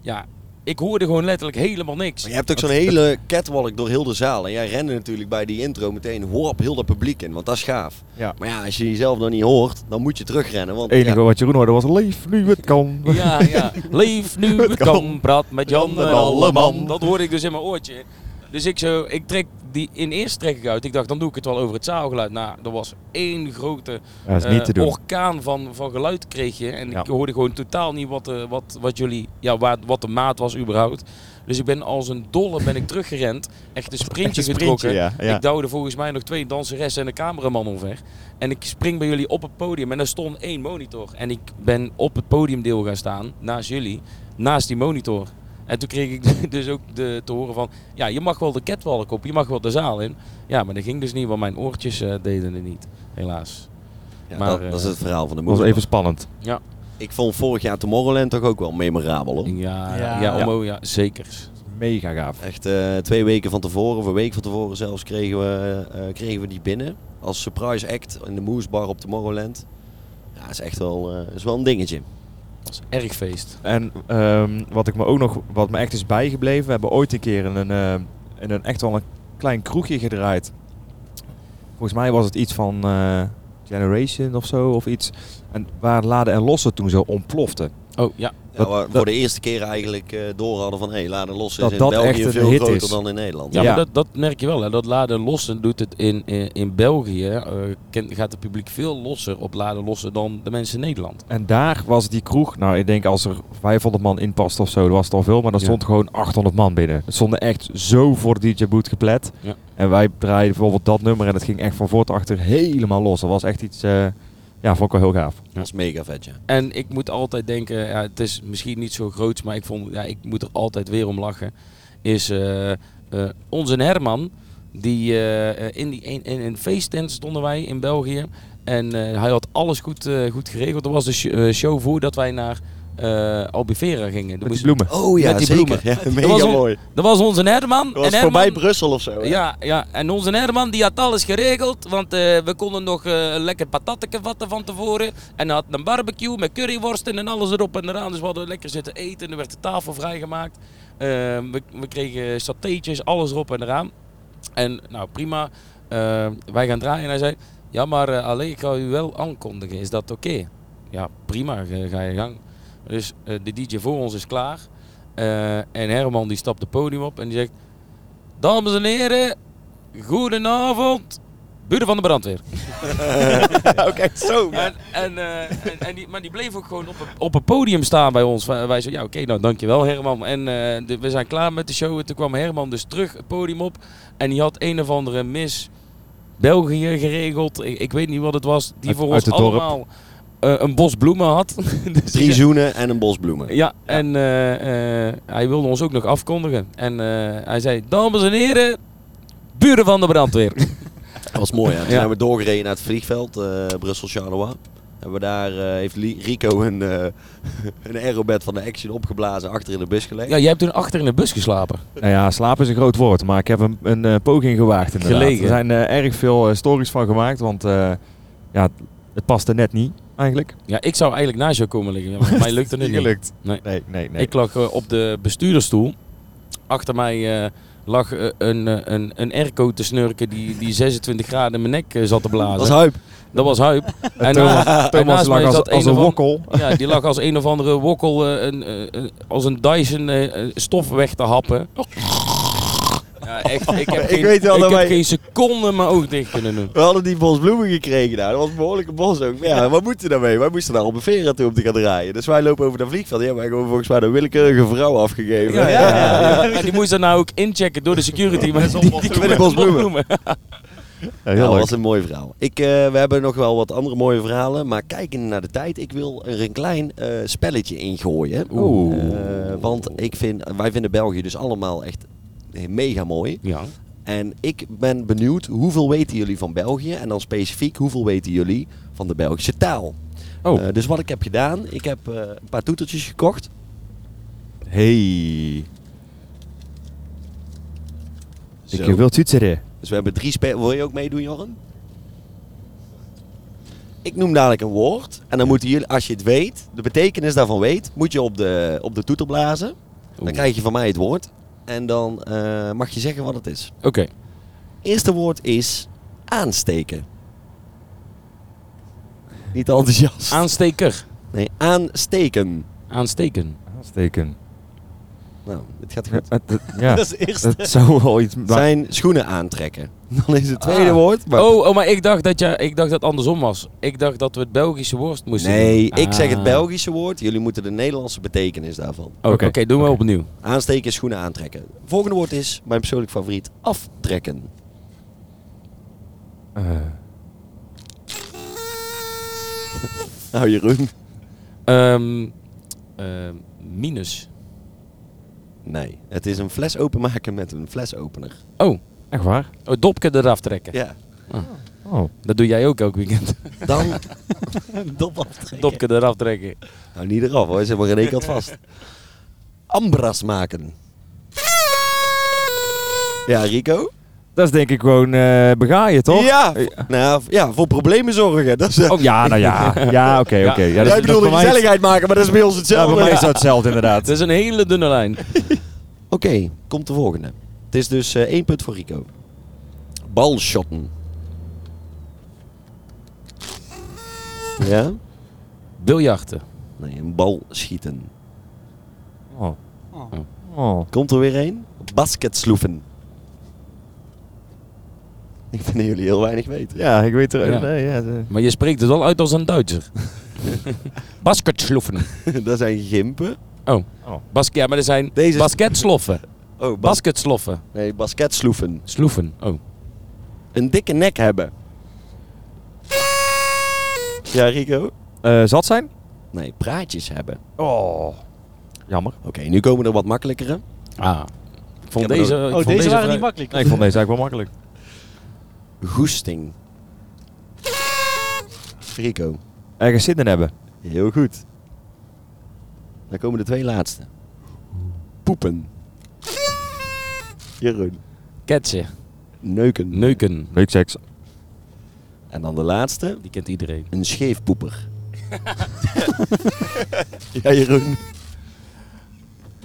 C: Ja, ik hoorde gewoon letterlijk helemaal niks.
B: Maar je hebt ook zo'n hele catwalk door heel de zaal. En jij rende natuurlijk bij die intro meteen hop heel dat publiek in, want dat is gaaf.
E: Ja.
B: Maar ja, als je jezelf nog niet hoort, dan moet je terugrennen. Want
E: Het enige
B: ja,
E: wat Jeroen hoorde was: leef nu het kan.
C: Ja, [laughs] ja. Leef nu het kan, praat met Jan en Alleman. Dat hoorde ik dus in mijn oortje. Dus ik, zo, ik trek die in eerst trek ik uit. Ik dacht, dan doe ik het wel over het zaalgeluid. Nou, er was één grote
E: Ja, dat is niet
C: eh,
E: te doen.
C: orkaan van, van geluid kreeg je. En
E: Ja.
C: ik hoorde gewoon totaal niet wat, eh, wat, wat jullie, ja, waar, wat de maat was überhaupt. Dus ik ben als een dolle ben ik teruggerend. Echt een sprintje getrokken.
E: ja, ja.
C: Ik douwde volgens mij nog twee danseressen en een cameraman omver. En ik spring bij jullie op het podium en er stond één monitor. En ik ben op het podiumdeel gaan staan, naast jullie, naast die monitor. En toen kreeg ik [laughs] dus ook de, te horen van, ja, je mag wel de catwalk op, je mag wel de zaal in. Ja, maar dat ging dus niet, want mijn oortjes eh, deden het niet, helaas.
B: ja,
C: maar,
B: dat,
C: eh,
B: dat is het verhaal van de
E: was
B: moeder.
E: even spannend.
B: Ik vond vorig jaar Tomorrowland toch ook wel memorabel. Hoor.
C: Ja, ja,
F: Ja.
C: ja, Omo, ja zeker.
E: Mega gaaf.
B: Echt eh, twee weken van tevoren, of een week van tevoren zelfs, kregen we, eh, kregen we die binnen. Als surprise act in de Moose Bar op Tomorrowland. Ja, is echt wel, eh, is wel een dingetje.
C: Dat was erg feest.
E: En ehm, wat ik me ook nog, wat me echt is bijgebleven, we hebben ooit een keer in een, eh, in een echt wel een klein kroegje gedraaid. Volgens mij was het iets van eh, Generation of zo, of iets. En waar Laden en Lossen toen zo ontplofte.
C: Oh, ja.
B: Ja, Ja,
E: Dat-
B: waar we voor de eerste keer eigenlijk eh, door hadden van hé, hey, laden los is
E: Dat
B: in
E: dat echt
B: België
E: een
B: veel
E: hit
B: groter
E: is.
B: dan in Nederland.
C: Ja,
E: Ja.
C: maar dat, dat merk je wel. Hè. Dat laden lossen doet het in, in, in België. eh, kent- gaat het publiek veel losser op laden lossen dan de mensen in Nederland.
E: En daar was die kroeg, nou ik denk als er 500 man in past of zo, dat was het al veel, maar er
C: Ja.
E: stond gewoon 800 man binnen. Het stonden echt zo voor de DJ Boot geplet.
C: Ja.
E: En wij draaiden bijvoorbeeld dat nummer en het ging echt van voor tot achter helemaal los. Dat was echt iets, eh, ja, vond ik wel heel gaaf.
B: Dat is mega vet, ja.
C: En ik moet altijd denken, ja, het is misschien niet zo groot, maar ik, vond, ja, ik moet er altijd weer om lachen. Is eh, eh, onze Herman, die eh, eh, in, die een, in een feesttent stonden wij in België. En eh, hij had alles goed, eh, goed geregeld. Er was een sh- eh, show voordat wij naar eh Albufeira gingen. Er
E: Met die
C: moest-
E: bloemen.
B: Oh ja,
C: Met die
B: zeker.
C: bloemen.
B: Ja, [laughs] mega
C: was een-
B: mooi.
C: Dat was onze Herman.
B: Dat was
C: en Herman-
B: voorbij Brussel of zo. hè?
C: Ja, ja, en onze Herman die had alles geregeld, want eh, we konden nog eh, lekker patatteken vatten van tevoren. En hij had een barbecue met curryworsten en alles erop en eraan. Dus we hadden lekker zitten eten, er werd de tafel vrijgemaakt. Eh, we, we kregen satéetjes, alles erop en eraan. En nou prima, Eh, wij gaan draaien en hij zei, ja maar eh alleen ik ga u wel aankondigen, is dat oké? Ja prima, ga, ga je gang. Dus eh, de DJ voor ons is klaar. Eh, en Herman die stapt het podium op en die zegt, Dames en heren, goedenavond. Buren van de brandweer.
B: Ook echt zo.
C: En, en, eh, en, en die, maar die bleef ook gewoon op, het- op het podium staan bij ons. Wij wij zo, ja oké, nou dankjewel Herman. En eh, de- we zijn klaar met de show. En toen kwam Herman dus terug het podium op. En die had een of andere mis België geregeld. Ik, ik weet niet wat het was. Die
E: Uit-
C: voor
E: uit
C: ons
E: het dorp.
C: allemaal eh, een bos bloemen
E: [laughs]
C: had. Dus
B: Drie
C: die-
B: zoenen en een bos bloemen.
C: ja, en eh, eh, hij wilde ons ook nog afkondigen. En eh, hij zei, dames en heren, buren van de brandweer.
B: Dat was mooi, hè? Toen
C: Ja.
B: zijn we doorgereden naar het vliegveld, eh, Brussel-Charleroi. En we daar eh, heeft Li- Rico een, eh [laughs] een aerobed van de Action opgeblazen achter in de bus gelegd.
C: Ja, jij hebt toen achter in de bus geslapen.
E: Nou ja, slaap is een groot woord, maar ik heb een, een eh, poging gewaagd inderdaad.
C: Gelegen.
E: Er zijn eh, erg veel eh, stories van gemaakt, want eh, ja, het- het paste net niet eigenlijk.
C: Ja, ik zou eigenlijk naast jou komen liggen, maar mij
E: [laughs]
C: lukte het niet.
E: gelukt.
C: Nee.
E: nee, nee. nee.
C: Ik lag eh, op de bestuurdersstoel. Achter mij eh, lag eh, een, eh, een, een airco te snurken die, die 26 graden in mijn nek eh, zat te blazen.
B: Dat is hype.
C: Dat was Huip. En
E: Thomas,
C: na- en
E: Thomas
C: Eh, naast
E: lag
C: mij
E: als,
C: zat
E: als
C: een
E: een
C: of an-
E: wokkel.
C: Ja, die lag als een of andere wokkel eh, een, eh, eh, als een Dyson eh, eh, stof weg te happen. Ja, echt, ik heb
B: Ik
C: geen,
B: weet wel
C: ik
B: dat
C: heb
B: wij-
C: geen seconde mijn oog dicht kunnen doen.
B: We hadden die bos bloemen gekregen daar. Dat was een behoorlijke bos ook. Maar ja, wat moet je daarmee? Wij moesten daar op een veren toe om te gaan draaien. Dus wij lopen over dat vliegveld. Die hebben wij gewoon volgens mij een willekeurige vrouw afgegeven.
C: Ja, ja, ja. Maar die moest er nou ook inchecken door de security. Maar die, die, kon
B: Met de
C: het
B: bosbloemen.
C: opnoemen.
E: Ja,
B: Ja,
E: heel
B: dat
E: leuk.
B: was Nou, een mooi verhaal. Ik, eh, we hebben nog wel wat andere mooie verhalen. Maar kijkend naar de tijd, ik wil er een klein eh, spelletje in gooien.
E: Oeh.
B: Eh, want ik vind, wij vinden België dus allemaal echt mega mooi.
C: Ja.
B: En ik ben benieuwd, hoeveel weten jullie van België? En dan specifiek, hoeveel weten jullie van de Belgische taal?
E: Oh.
B: Eh, dus wat ik heb gedaan, ik heb eh, een paar toetertjes gekocht.
E: Hey.
B: Zo.
E: Ik wil toetsen.
B: Dus we hebben drie spelers. Wil je ook meedoen, Jorren? Ik noem dadelijk een woord. En dan moeten jullie, als je het weet, de betekenis daarvan weet, moet je op de, op de toeter blazen. Dan
C: Oeh.
B: krijg je van mij het woord. En dan eh, mag je zeggen wat het is.
C: Oké.
B: Eerste woord is aansteken. Niet enthousiast.
C: Aansteker.
B: nee, aansteken.
C: Aansteken.
E: Aansteken.
B: Nou, dit gaat goed.
E: Het- het- Ja, [laughs]
F: Dat is de eerste.
E: het zou wel iets... maar-
B: Zijn schoenen aantrekken. [laughs] Dan is het tweede
C: Ah.
B: woord. maar-
C: Oh, oh, maar ik dacht, dat je, ik dacht dat het andersom was. Ik dacht dat we het Belgische worst moesten
B: Nee,
C: doen.
B: ik zeg het
C: Ah.
B: Belgische woord. Jullie moeten de Nederlandse betekenis daarvan.
C: Oké,
E: Oké.
C: oké, doen we opnieuw.
B: Aansteken, schoenen aantrekken. Volgende woord is mijn persoonlijk favoriet: aftrekken.
E: Eh,
B: Nou, Jeroen.
C: Ehm, ehm, minus.
B: Nee, het is een fles openmaken met een flesopener.
C: Oh,
E: echt waar?
C: het dopje eraf trekken.
B: Ja.
E: Oh.
C: Dat doe jij ook elk weekend.
B: Dan.
F: Dop aftrekken.
C: dopje eraf trekken.
B: nou, niet eraf hoor, zit maar in één kant vast. [laughs] Ambras maken. Ja, Rico?
E: Dat is denk ik gewoon eh begaaien, toch?
B: Ja, v- nou, v- ja, voor problemen zorgen. Dat is,
E: Oh, ja, nou ja. [laughs] Ja, oké,
C: Ja.
E: oké. Ja,
C: Jij
E: dat-
B: Jij
E: dat
B: bedoelde
E: bij mij-
B: gezelligheid maken, maar dat is bij ons
E: Ja,
B: hetzelfde.
E: bij mij is dat hetzelfde inderdaad.
C: Het is een hele dunne lijn.
B: Oké, komt de volgende. Het is dus eh, één punt voor Rico. Balshotten. Ja?
C: Biljarten.
B: Nee, een bal schieten.
E: Oh.
F: Oh.
E: Oh.
B: Komt er weer een? Basketsloeven. Ik vind dat jullie heel weinig weten.
E: Ja, ik weet er.
C: Ja.
E: Nee, ja, de-
C: Maar je spreekt het wel uit als een
B: [laughs]
C: Duitser. Basketsloffen.
B: dat zijn gimpen.
C: Bas Oh. ja, maar er zijn
B: Deze is-
C: basketsloffen.
B: Oh, bas
C: Basketsloffen.
B: nee, basketsloeven.
C: Sloeven. Oh.
B: Een dikke nek hebben. Ja, Rico?
E: Eh, zat zijn?
B: Nee, praatjes hebben.
E: Oh. Jammer.
B: Oké, nu komen er wat makkelijkere.
C: Ah. Ik vond
B: Ja, maar
C: deze...
B: dat-
C: ik
F: Oh,
C: vond
F: deze waren
C: vrij-
F: niet makkelijk.
E: Nee, ik vond deze eigenlijk wel makkelijk.
B: Goesting. Rico.
E: Ergens zin in hebben.
B: Heel goed. Dan komen de twee laatste. Poepen. Jeroen.
C: Ketsen.
B: Neuken.
C: Neuken.
E: Hmm, Leuk seks.
B: En dan de laatste.
C: Die kent iedereen.
B: Een scheefpoeper. [laughs] ja, Jeroen.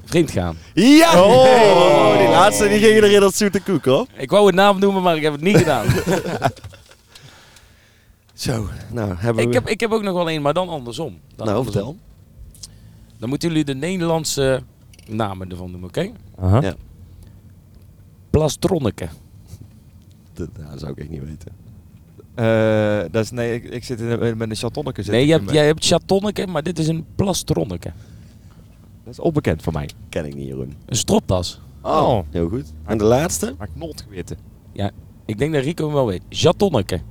C: Vreemd gaan.
B: Ja! Oh, die laatste die gingen erin dat zoete koek, hoor.
C: Ik wou het naam noemen, maar ik heb het niet gedaan.
B: Zo, nou hebben we...
C: ik, heb, ik heb ook nog wel een, maar dan andersom. Dan
B: nou,
C: andersom.
B: vertel.
C: Dan moeten jullie de Nederlandse namen ervan noemen, oké?
E: Aha.
B: Ja.
C: Plastronneke.
B: Dat, nou, dat zou ik echt niet weten.
E: Eh, dat is, nee, ik, ik zit in, met een chatonneke. zit
C: Nee,
E: ik
C: je
E: in
C: hebt,
E: mijn-
C: jij hebt chatonneke, maar dit is een plastronneke.
E: Dat is onbekend voor mij.
B: Ken ik niet, Jeroen.
C: Een stropdas.
E: Oh.
B: Heel goed. En de laatste?
E: Maar knolt geweten.
C: Ik denk dat Rico hem wel weet. Chatonneke.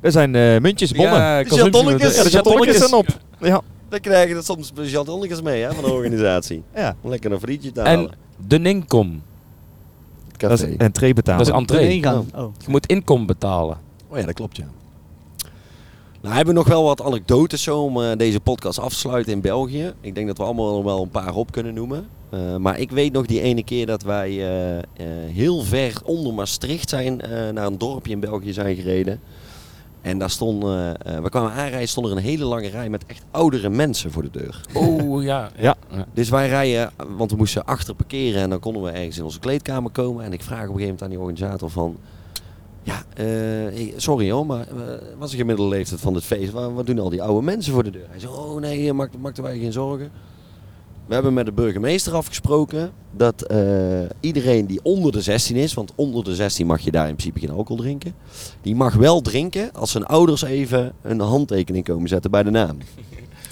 E: Er zijn eh, muntjes, bonnen.
C: Ja,
B: consumptie- chatonnetjes.
E: de chatonnetjes zijn op. Ja.
B: Dan krijgen er soms chatonnetjes mee hè, van de organisatie.
E: [laughs] ja.
B: Om Lekker een frietje te halen.
C: En de ninkom.
B: het
E: Dat
B: café.
E: is entree betalen.
C: Dat is entree.
F: Erin gaan. Oh.
C: Je moet inkom betalen.
B: Oh ja, dat klopt ja. Nou, hebben we nog wel wat anekdotes zo om eh, deze podcast af te sluiten in België. Ik denk dat we allemaal nog wel een paar op kunnen noemen. Eh, maar ik weet nog die ene keer dat wij eh, eh, heel ver onder Maastricht zijn, eh, naar een dorpje in België zijn gereden. En daar stond, eh, eh, we kwamen aanrijden, stond er een hele lange rij met echt oudere mensen voor de deur.
C: Oh ja.
E: Ja.
B: Dus wij rijden, want we moesten achter parkeren en dan konden we ergens in onze kleedkamer komen. En ik vraag op een gegeven moment aan die organisator van... Ja, eh, hey, sorry hoor, maar eh, wat is de gemiddelde leeftijd van dit feest? Wa- Wat doen al die oude mensen voor de deur? Hij zei, oh nee, eh, maak, maak er wij geen zorgen. We hebben met de burgemeester afgesproken dat eh, iedereen die onder de 16 is, want onder de 16 mag je daar in principe geen alcohol drinken, die mag wel drinken als zijn ouders even een handtekening komen zetten bij de naam.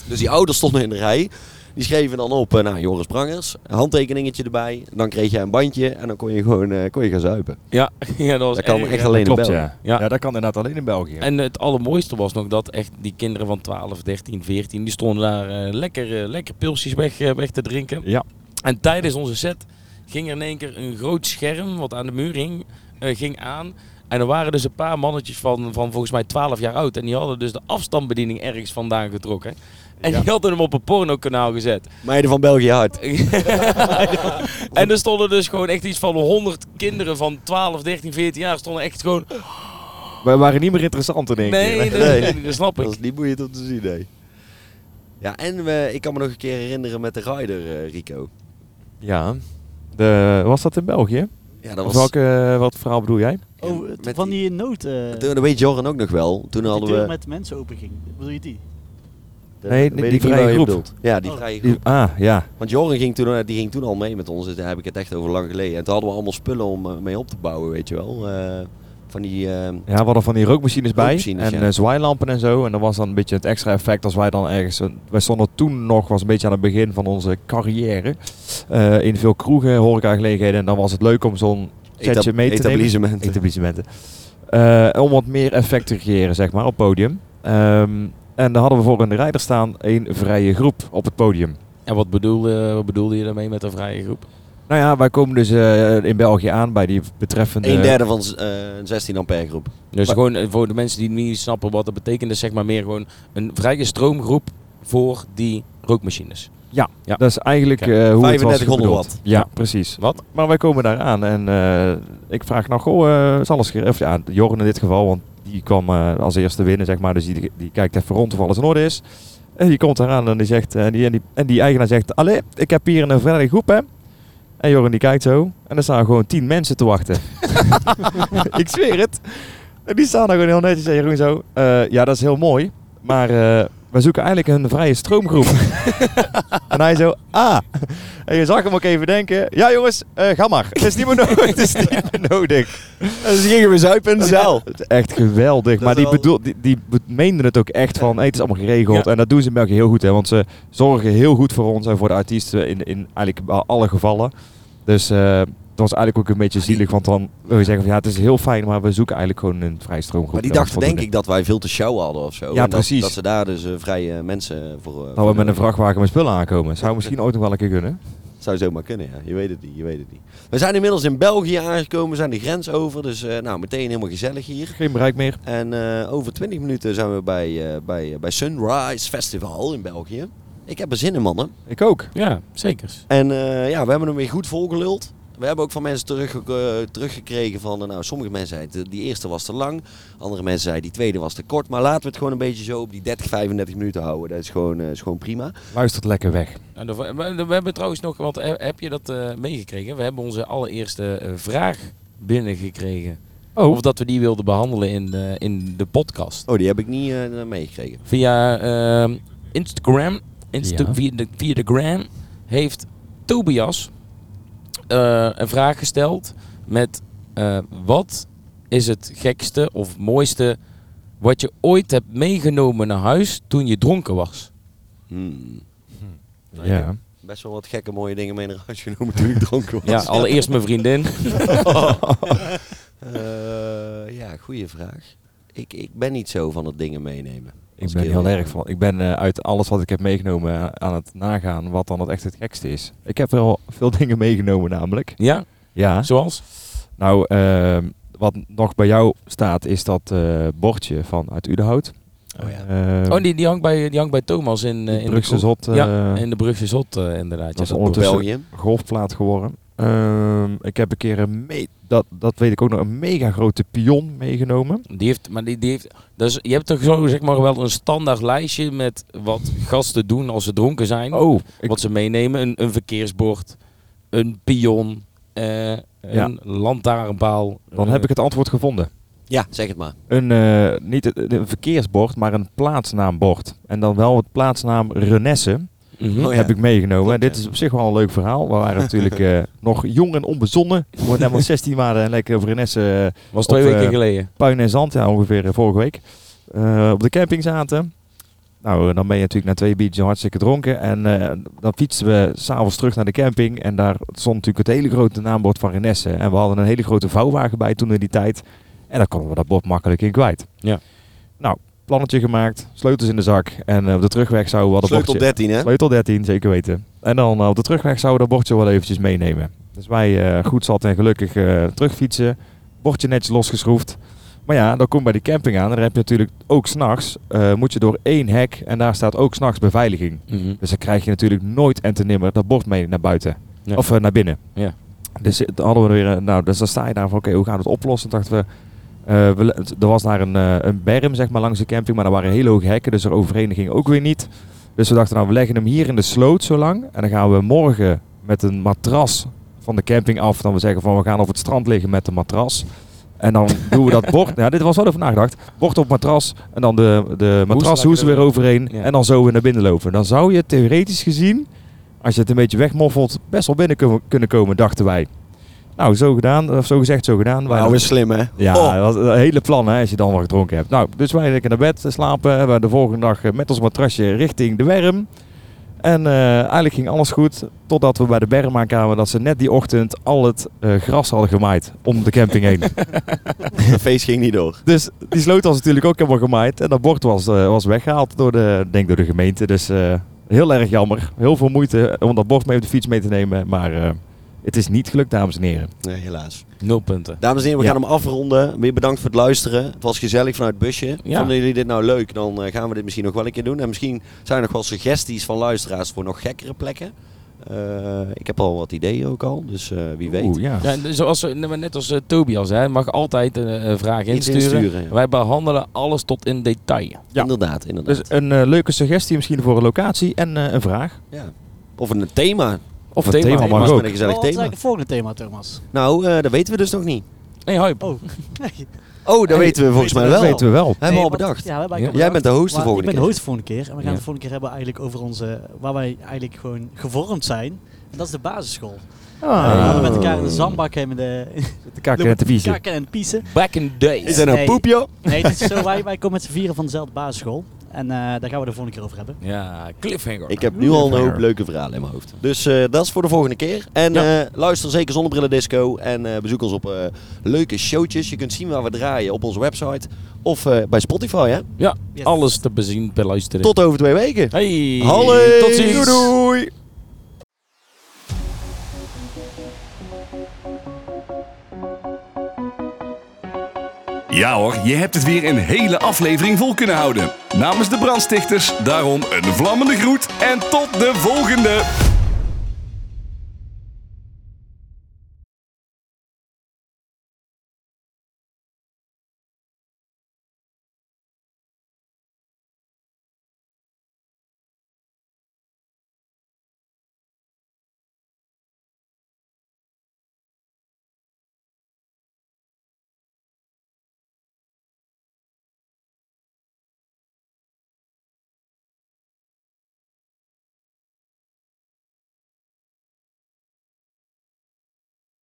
B: Dus die ouders stonden in de rij. Die schreven dan op, eh, nou Joris Brangers, een handtekeningetje erbij. Dan kreeg jij een bandje en dan kon je gewoon eh, kon je gaan zuipen.
C: Ja, [laughs] ja dat was
B: Dat kan
C: erg,
B: echt
C: hè.
B: alleen in
E: Klopt,
B: België.
E: ja.
C: Ja.
E: ja. dat kan inderdaad alleen in België.
C: En het allermooiste was nog dat echt die kinderen van 12, 13, 14, die stonden daar eh, lekker, eh, lekker pilsjes weg, eh, weg te drinken.
E: Ja.
C: En tijdens onze set ging er in één keer een groot scherm, wat aan de muur hing, eh, ging aan. En er waren dus een paar mannetjes van, van volgens mij 12 jaar oud. En die hadden dus de afstandsbediening ergens vandaan getrokken. En die hadden hem op een pornokanaal gezet. [laughs]
B: Meiden van België hard.
C: en er stonden dus gewoon echt iets van 100 kinderen van 12, 13, 14 jaar. Stonden echt gewoon...
E: Wij waren niet meer interessant in één
C: Nee,
E: keer.
C: nee,
E: hè?
C: nee, dat snap ik.
B: Dat is niet boeiend om te zien, nee. Ja, en we, ik kan me nog een keer herinneren met de rider, eh, Rico.
E: Ja. De, was dat in België?
B: Ja, dat
E: Of
B: was...
E: Welke, eh, wat verhaal bedoel jij?
F: Oh,
B: Met
F: t- van
B: die-
F: die nood. eh,
B: Toen, dat weet Joran ook nog wel. Toen
F: die
B: hadden
F: deur
B: we...
F: met mensen open ging. Bedoel je die?
B: dat
E: Nee,
B: weet
E: die
B: ik niet
E: vrije
B: waar je
E: groep.
B: bedoelt. Ja, die
F: Oh.
B: vrije groep.
E: Die- ah, ja.
B: Want Joran ging toen, eh, die ging toen al mee met ons. Dus daar heb ik het echt over lang geleden. En toen hadden we allemaal spullen om eh, mee op te bouwen, weet je wel. Eh, van die... eh,
E: Ja, we hadden van die rookmachines bij
B: Rookmachines,
E: en
B: ja.
E: eh, zwaailampen en zo. En dat was dan een beetje het extra effect als wij dan ergens... een- wij stonden toen nog, was een beetje aan het begin van onze carrière. eh, in veel kroegen, horecagelegenheden. En dan was het leuk om zo'n setje
B: etab-
E: mee te nemen.
B: etablissementen.
E: Etablissementen. Eh, om wat meer effect te creëren, zeg maar, op podium. Ehm, en daar hadden we voor in de rijder staan een vrije groep op het podium.
C: En wat bedoelde, wat bedoelde je daarmee met een vrije groep?
E: Nou ja, wij komen dus eh, in België aan bij die betreffende...
B: Een derde van z- eh, een 16 ampère groep.
C: Dus
E: Maar-
C: gewoon eh, voor de mensen die niet snappen wat dat betekent, is zeg maar meer gewoon een vrije stroomgroep voor die rookmachines. Ja.
E: Dat is eigenlijk eh
C: Kijk,
E: hoe het was
B: 3500
E: bedoeld.
B: watt.
E: Ja, precies.
C: Wat?
E: Maar wij komen daar aan en eh, ik vraag nou, goh, eh, is alles geregeld? Of ja, Jorn in dit geval, want die kwam eh, als eerste winnen, zeg maar. Dus die, die kijkt even rond of alles in orde is. En die komt eraan en die zegt, eh, die, en, die, en die eigenaar zegt, allee, ik heb hier een vrije groep, hè. En Jorn die kijkt zo en er staan gewoon tien mensen te wachten. ik zweer het. En die staan daar gewoon heel netjes en Jeroen zo, eh, ja, dat is heel mooi, maar... eh, we zoeken eigenlijk een vrije stroomgroep. [laughs] en hij zo, ah. En je zag hem ook even denken, ja jongens, eh, ga maar. Het is niet meer nodig. [laughs] Het is niet meer nodig.
D: En ze gingen weer zuipen in de zaal.
E: Het is echt geweldig.
D: is
E: maar die,
D: wel-
E: bedoel, die, die be- meenden het ook echt van, hey, het is allemaal geregeld.
C: Ja.
E: En dat doen ze in België heel goed. Hè, want ze zorgen heel goed voor ons en voor de artiesten in, in eigenlijk wel alle gevallen. Dus eh, het was eigenlijk ook een beetje zielig. Want dan wil je zeggen van, ja het is heel fijn, maar we zoeken eigenlijk gewoon een vrije stroomgroep.
B: Maar die
E: Dat was
B: dachten denk
E: voldoende.
B: ik dat wij veel te show hadden of zo. En dat-
E: precies.
B: Dat ze daar dus eh, vrije mensen voor... eh,
E: Dat
B: voor-
E: we met een vrachtwagen met spullen aankomen. Zou misschien ooit nog wel een keer kunnen.
B: Zou zomaar kunnen, ja. Je weet het niet, je weet het niet. We zijn inmiddels in België aangekomen, we zijn de grens over. Dus eh, nou, meteen helemaal gezellig hier.
E: Geen bereik meer.
B: En eh, over 20 minuten zijn we bij, eh, bij, eh, bij Sunrise Festival in België. Ik heb er zin in, mannen.
E: Ik ook.
C: Ja, zeker.
B: En eh, ja, we hebben hem weer goed volgeluld. We hebben ook van mensen terug, eh, teruggekregen van, eh, nou, sommige mensen zeiden die eerste was te lang. Andere mensen zeiden die tweede was te kort. Maar laten we het gewoon een beetje zo op die 30, 35 minuten houden. Dat is gewoon, eh, is gewoon prima.
E: Luistert lekker weg.
C: Nou, de- we, we hebben trouwens nog, want he- heb je dat eh, meegekregen? We hebben onze allereerste eh, vraag binnengekregen.
E: Oh.
C: Of dat we die wilden behandelen in de, in de podcast.
B: Oh, die heb ik niet eh, meegekregen.
C: Via ehm, Instagram, Insta-
E: Ja.
C: via, de, via de gram, heeft Tobias eh, een vraag gesteld met eh, wat is het gekste of mooiste wat je ooit hebt meegenomen naar huis toen je dronken was?
B: Hmm. Nou, ik heb
E: Ja.
B: Best wel wat gekke mooie dingen mee naar huis genomen toen ik dronken was.
C: Ja, allereerst mijn vriendin.
B: [laughs] Eh, ja, goede vraag. Ik, ik ben niet zo van het dingen meenemen.
E: Ik ben heel erg van. Ik ben eh, uit alles wat ik heb meegenomen eh, aan het nagaan wat dan het echt het gekste is. Ik heb wel veel [laughs] dingen meegenomen namelijk.
C: Ja,
E: [laughs] Ja.
C: zoals?
E: Nou, ehm, wat nog bij jou staat is dat eh, bordje van uit Udenhout.
B: Oh ja.
E: Ehm,
C: Oh, die, die, hangt, bij, die hangt bij Thomas in, eh,
E: die
C: in
E: Brugse
C: de kroeg.
E: zot. eh,
C: Ja, in de Brugse Zot eh, inderdaad.
E: Dat is
C: ja,
E: ondertussen-
C: dorp.
B: België.
E: golfplaat geworden. Ehm, ik heb een keer een me- dat, dat weet ik ook nog, een mega grote pion meegenomen.
C: Die heeft, maar die, die heeft, dus je hebt toch zo zeg maar wel een standaard lijstje met wat gasten doen als ze dronken zijn.
E: Oh, ik,
C: Wat ze meenemen, een, een verkeersbord, een pion, eh, een lantaarnpaal.
E: dan heb ik het antwoord gevonden.
B: Ja, zeg het maar.
E: Een, eh, niet het- een verkeersbord, maar een plaatsnaambord. En dan wel het plaatsnaam Renesse
C: Mhm.
B: Oh ja.
E: heb ik meegenomen.
B: Klopt,
E: En dit
B: ja.
E: is op zich wel een leuk verhaal. We waren
B: [laughs]
E: natuurlijk eh, nog jong en onbezonnen. We waren helemaal 16 maanden en lekker over Renesse eh,
C: Was twee
E: Of,
C: weken
E: eh,
C: geleden.
E: puin en zand. Ja, ongeveer eh, vorige week. eh, op de camping zaten. Nou, eh, dan ben je natuurlijk na twee biertjes hartstikke dronken. En eh, dan fietsten we s'avonds terug naar de camping. En daar stond natuurlijk het hele grote naambord van Renesse. En we hadden een hele grote vouwwagen bij toen in die tijd. En daar konden we dat bord makkelijk in kwijt.
C: Ja.
E: Nou, plannetje gemaakt, sleutels in de zak. En eh, op de terugweg zouden we dat
B: Sleutel
E: bordje...
B: 13, hè?
E: Sleutel 13, zeker weten. En dan eh, op de terugweg zouden we dat bordje wel eventjes meenemen. Dus wij eh, goed zat en gelukkig eh, terugfietsen. Bordje netjes losgeschroefd. Maar ja, dan kom je bij die camping aan. En dan heb je natuurlijk ook s'nachts, eh moet je door één hek. En daar staat ook s'nachts beveiliging.
C: Mhm.
E: Dus dan krijg je natuurlijk nooit en te nimmer dat bord mee naar buiten.
C: Ja.
E: Of eh, naar binnen.
C: Ja.
E: Dus eh, dan hadden we weer, eh, nou, dus dan sta je daar van, oké, hoe gaan we het oplossen? Toen dachten we, eh, we, le- er was daar een, eh, een berm, zeg maar, langs de camping, maar daar waren hele hoge hekken, dus er overheen ging ook weer niet. Dus we dachten, nou, we leggen hem hier in de sloot zo lang. En dan gaan we morgen met een matras van de camping af. Dan we zeggen van, we gaan op het strand liggen met een matras. En dan doen
C: [laughs]
E: we dat bord, nou, dit was wel over nagedacht, bord op matras en dan de, de matras hoes
C: eh,
E: weer overheen
C: Ja.
E: en dan zo weer naar binnen lopen. Dan zou je theoretisch gezien, als je het een beetje wegmoffelt, best wel binnen kun- kunnen komen, dachten wij. Nou, zo gedaan, of zo gezegd, zo gedaan. Wij
B: Nou, is slim, hè?
E: ja,
B: Oh. [laughs]
E: dat was een hele plan hè, als je dan wat gedronken hebt. Nou, dus wij lekker naar bed slapen. Hebben we de volgende dag eh, met ons matrasje richting de werm. En eh, eigenlijk ging alles goed. Totdat we bij de berm aankwamen dat ze net die ochtend al het eh, gras hadden gemaaid om de camping heen.
B: Het feest ging niet door.
E: dus die sloot was natuurlijk ook helemaal gemaaid. En dat bord was, eh, was weggehaald door de, denk door de gemeente. Dus eh, heel erg jammer. Heel veel moeite om dat bord mee op de fiets mee te nemen. Maar eh, het is niet gelukt, dames en heren.
B: Nee, helaas.
C: Nul punten.
B: Dames en heren, we
E: Ja.
B: gaan hem afronden. Weer bedankt voor het luisteren. Het was gezellig vanuit het busje.
C: Ja.
B: Vonden jullie dit nou leuk? Dan eh, gaan we dit misschien nog wel een keer doen. En misschien zijn er nog wel suggesties van luisteraars voor nog gekkere plekken. Eh, ik heb al wat ideeën ook al, dus eh, wie weet.
E: Oeh, ja.
C: Ja, en zoals, eh, maar net als eh, Tobias, hè, mag altijd eh, een vraag
B: Iets
C: insturen.
B: insturen, ja.
C: Wij behandelen alles tot in detail.
E: Ja.
B: Inderdaad, inderdaad.
E: Dus een eh, leuke suggestie misschien voor een locatie en eh, een vraag.
B: ja. Of een thema.
E: Of
C: een thema mag
B: Thema's
C: ook.
B: met een gezellig
F: Wat is
B: thema.
F: eigenlijk het volgende thema, Thomas?
B: Nou, eh, dat weten we dus nog niet.
C: Hey, Huip.
F: Oh, nee.
B: Oh, dat
F: Hey,
B: weten we volgens mij wel.
E: Dat weten we wel.
B: Hebben we al
F: Nee, want-
B: bedacht.
F: Ja, we hebben
C: Ja.
F: eigenlijk al
B: Jij bent de host de
F: Maar
B: volgende
F: ik ben
B: keer.
F: de host de volgende keer. En we gaan
C: Ja.
F: de volgende keer hebben eigenlijk over onze, waar wij eigenlijk gewoon gevormd zijn. En dat is de basisschool.
E: Ah.
F: We hadden met elkaar in de zandbak en met de
B: [laughs]
F: [laughs]
E: Te kakken en te piezen.
F: kakken en piezen.
C: Back in the days.
B: Is dat een
F: Nee.
B: poepje?
F: Nee, het is zo, wij, wij komen met z'n vieren van dezelfde basisschool. En eh, daar gaan we de volgende keer over hebben.
C: Ja, cliffhanger.
B: Ik heb nu al een hoop leuke verhalen in mijn hoofd. Dus eh, dat is voor de volgende keer. En
C: Ja.
B: eh, luister zeker Zonnebrillen Disco. En eh, bezoek ons op eh, leuke showtjes. Je kunt zien waar we draaien op onze website. Of eh, bij Spotify, hè.
C: Ja,
F: Yes.
C: alles te bezien, beluisteren.
B: Tot over twee weken.
C: Hey,
B: Hallo.
C: tot
B: Doei,
C: ziens.
B: doei.
A: Ja hoor, je hebt het weer een hele aflevering vol kunnen houden. Namens de brandstichters daarom een vlammende groet en tot de volgende!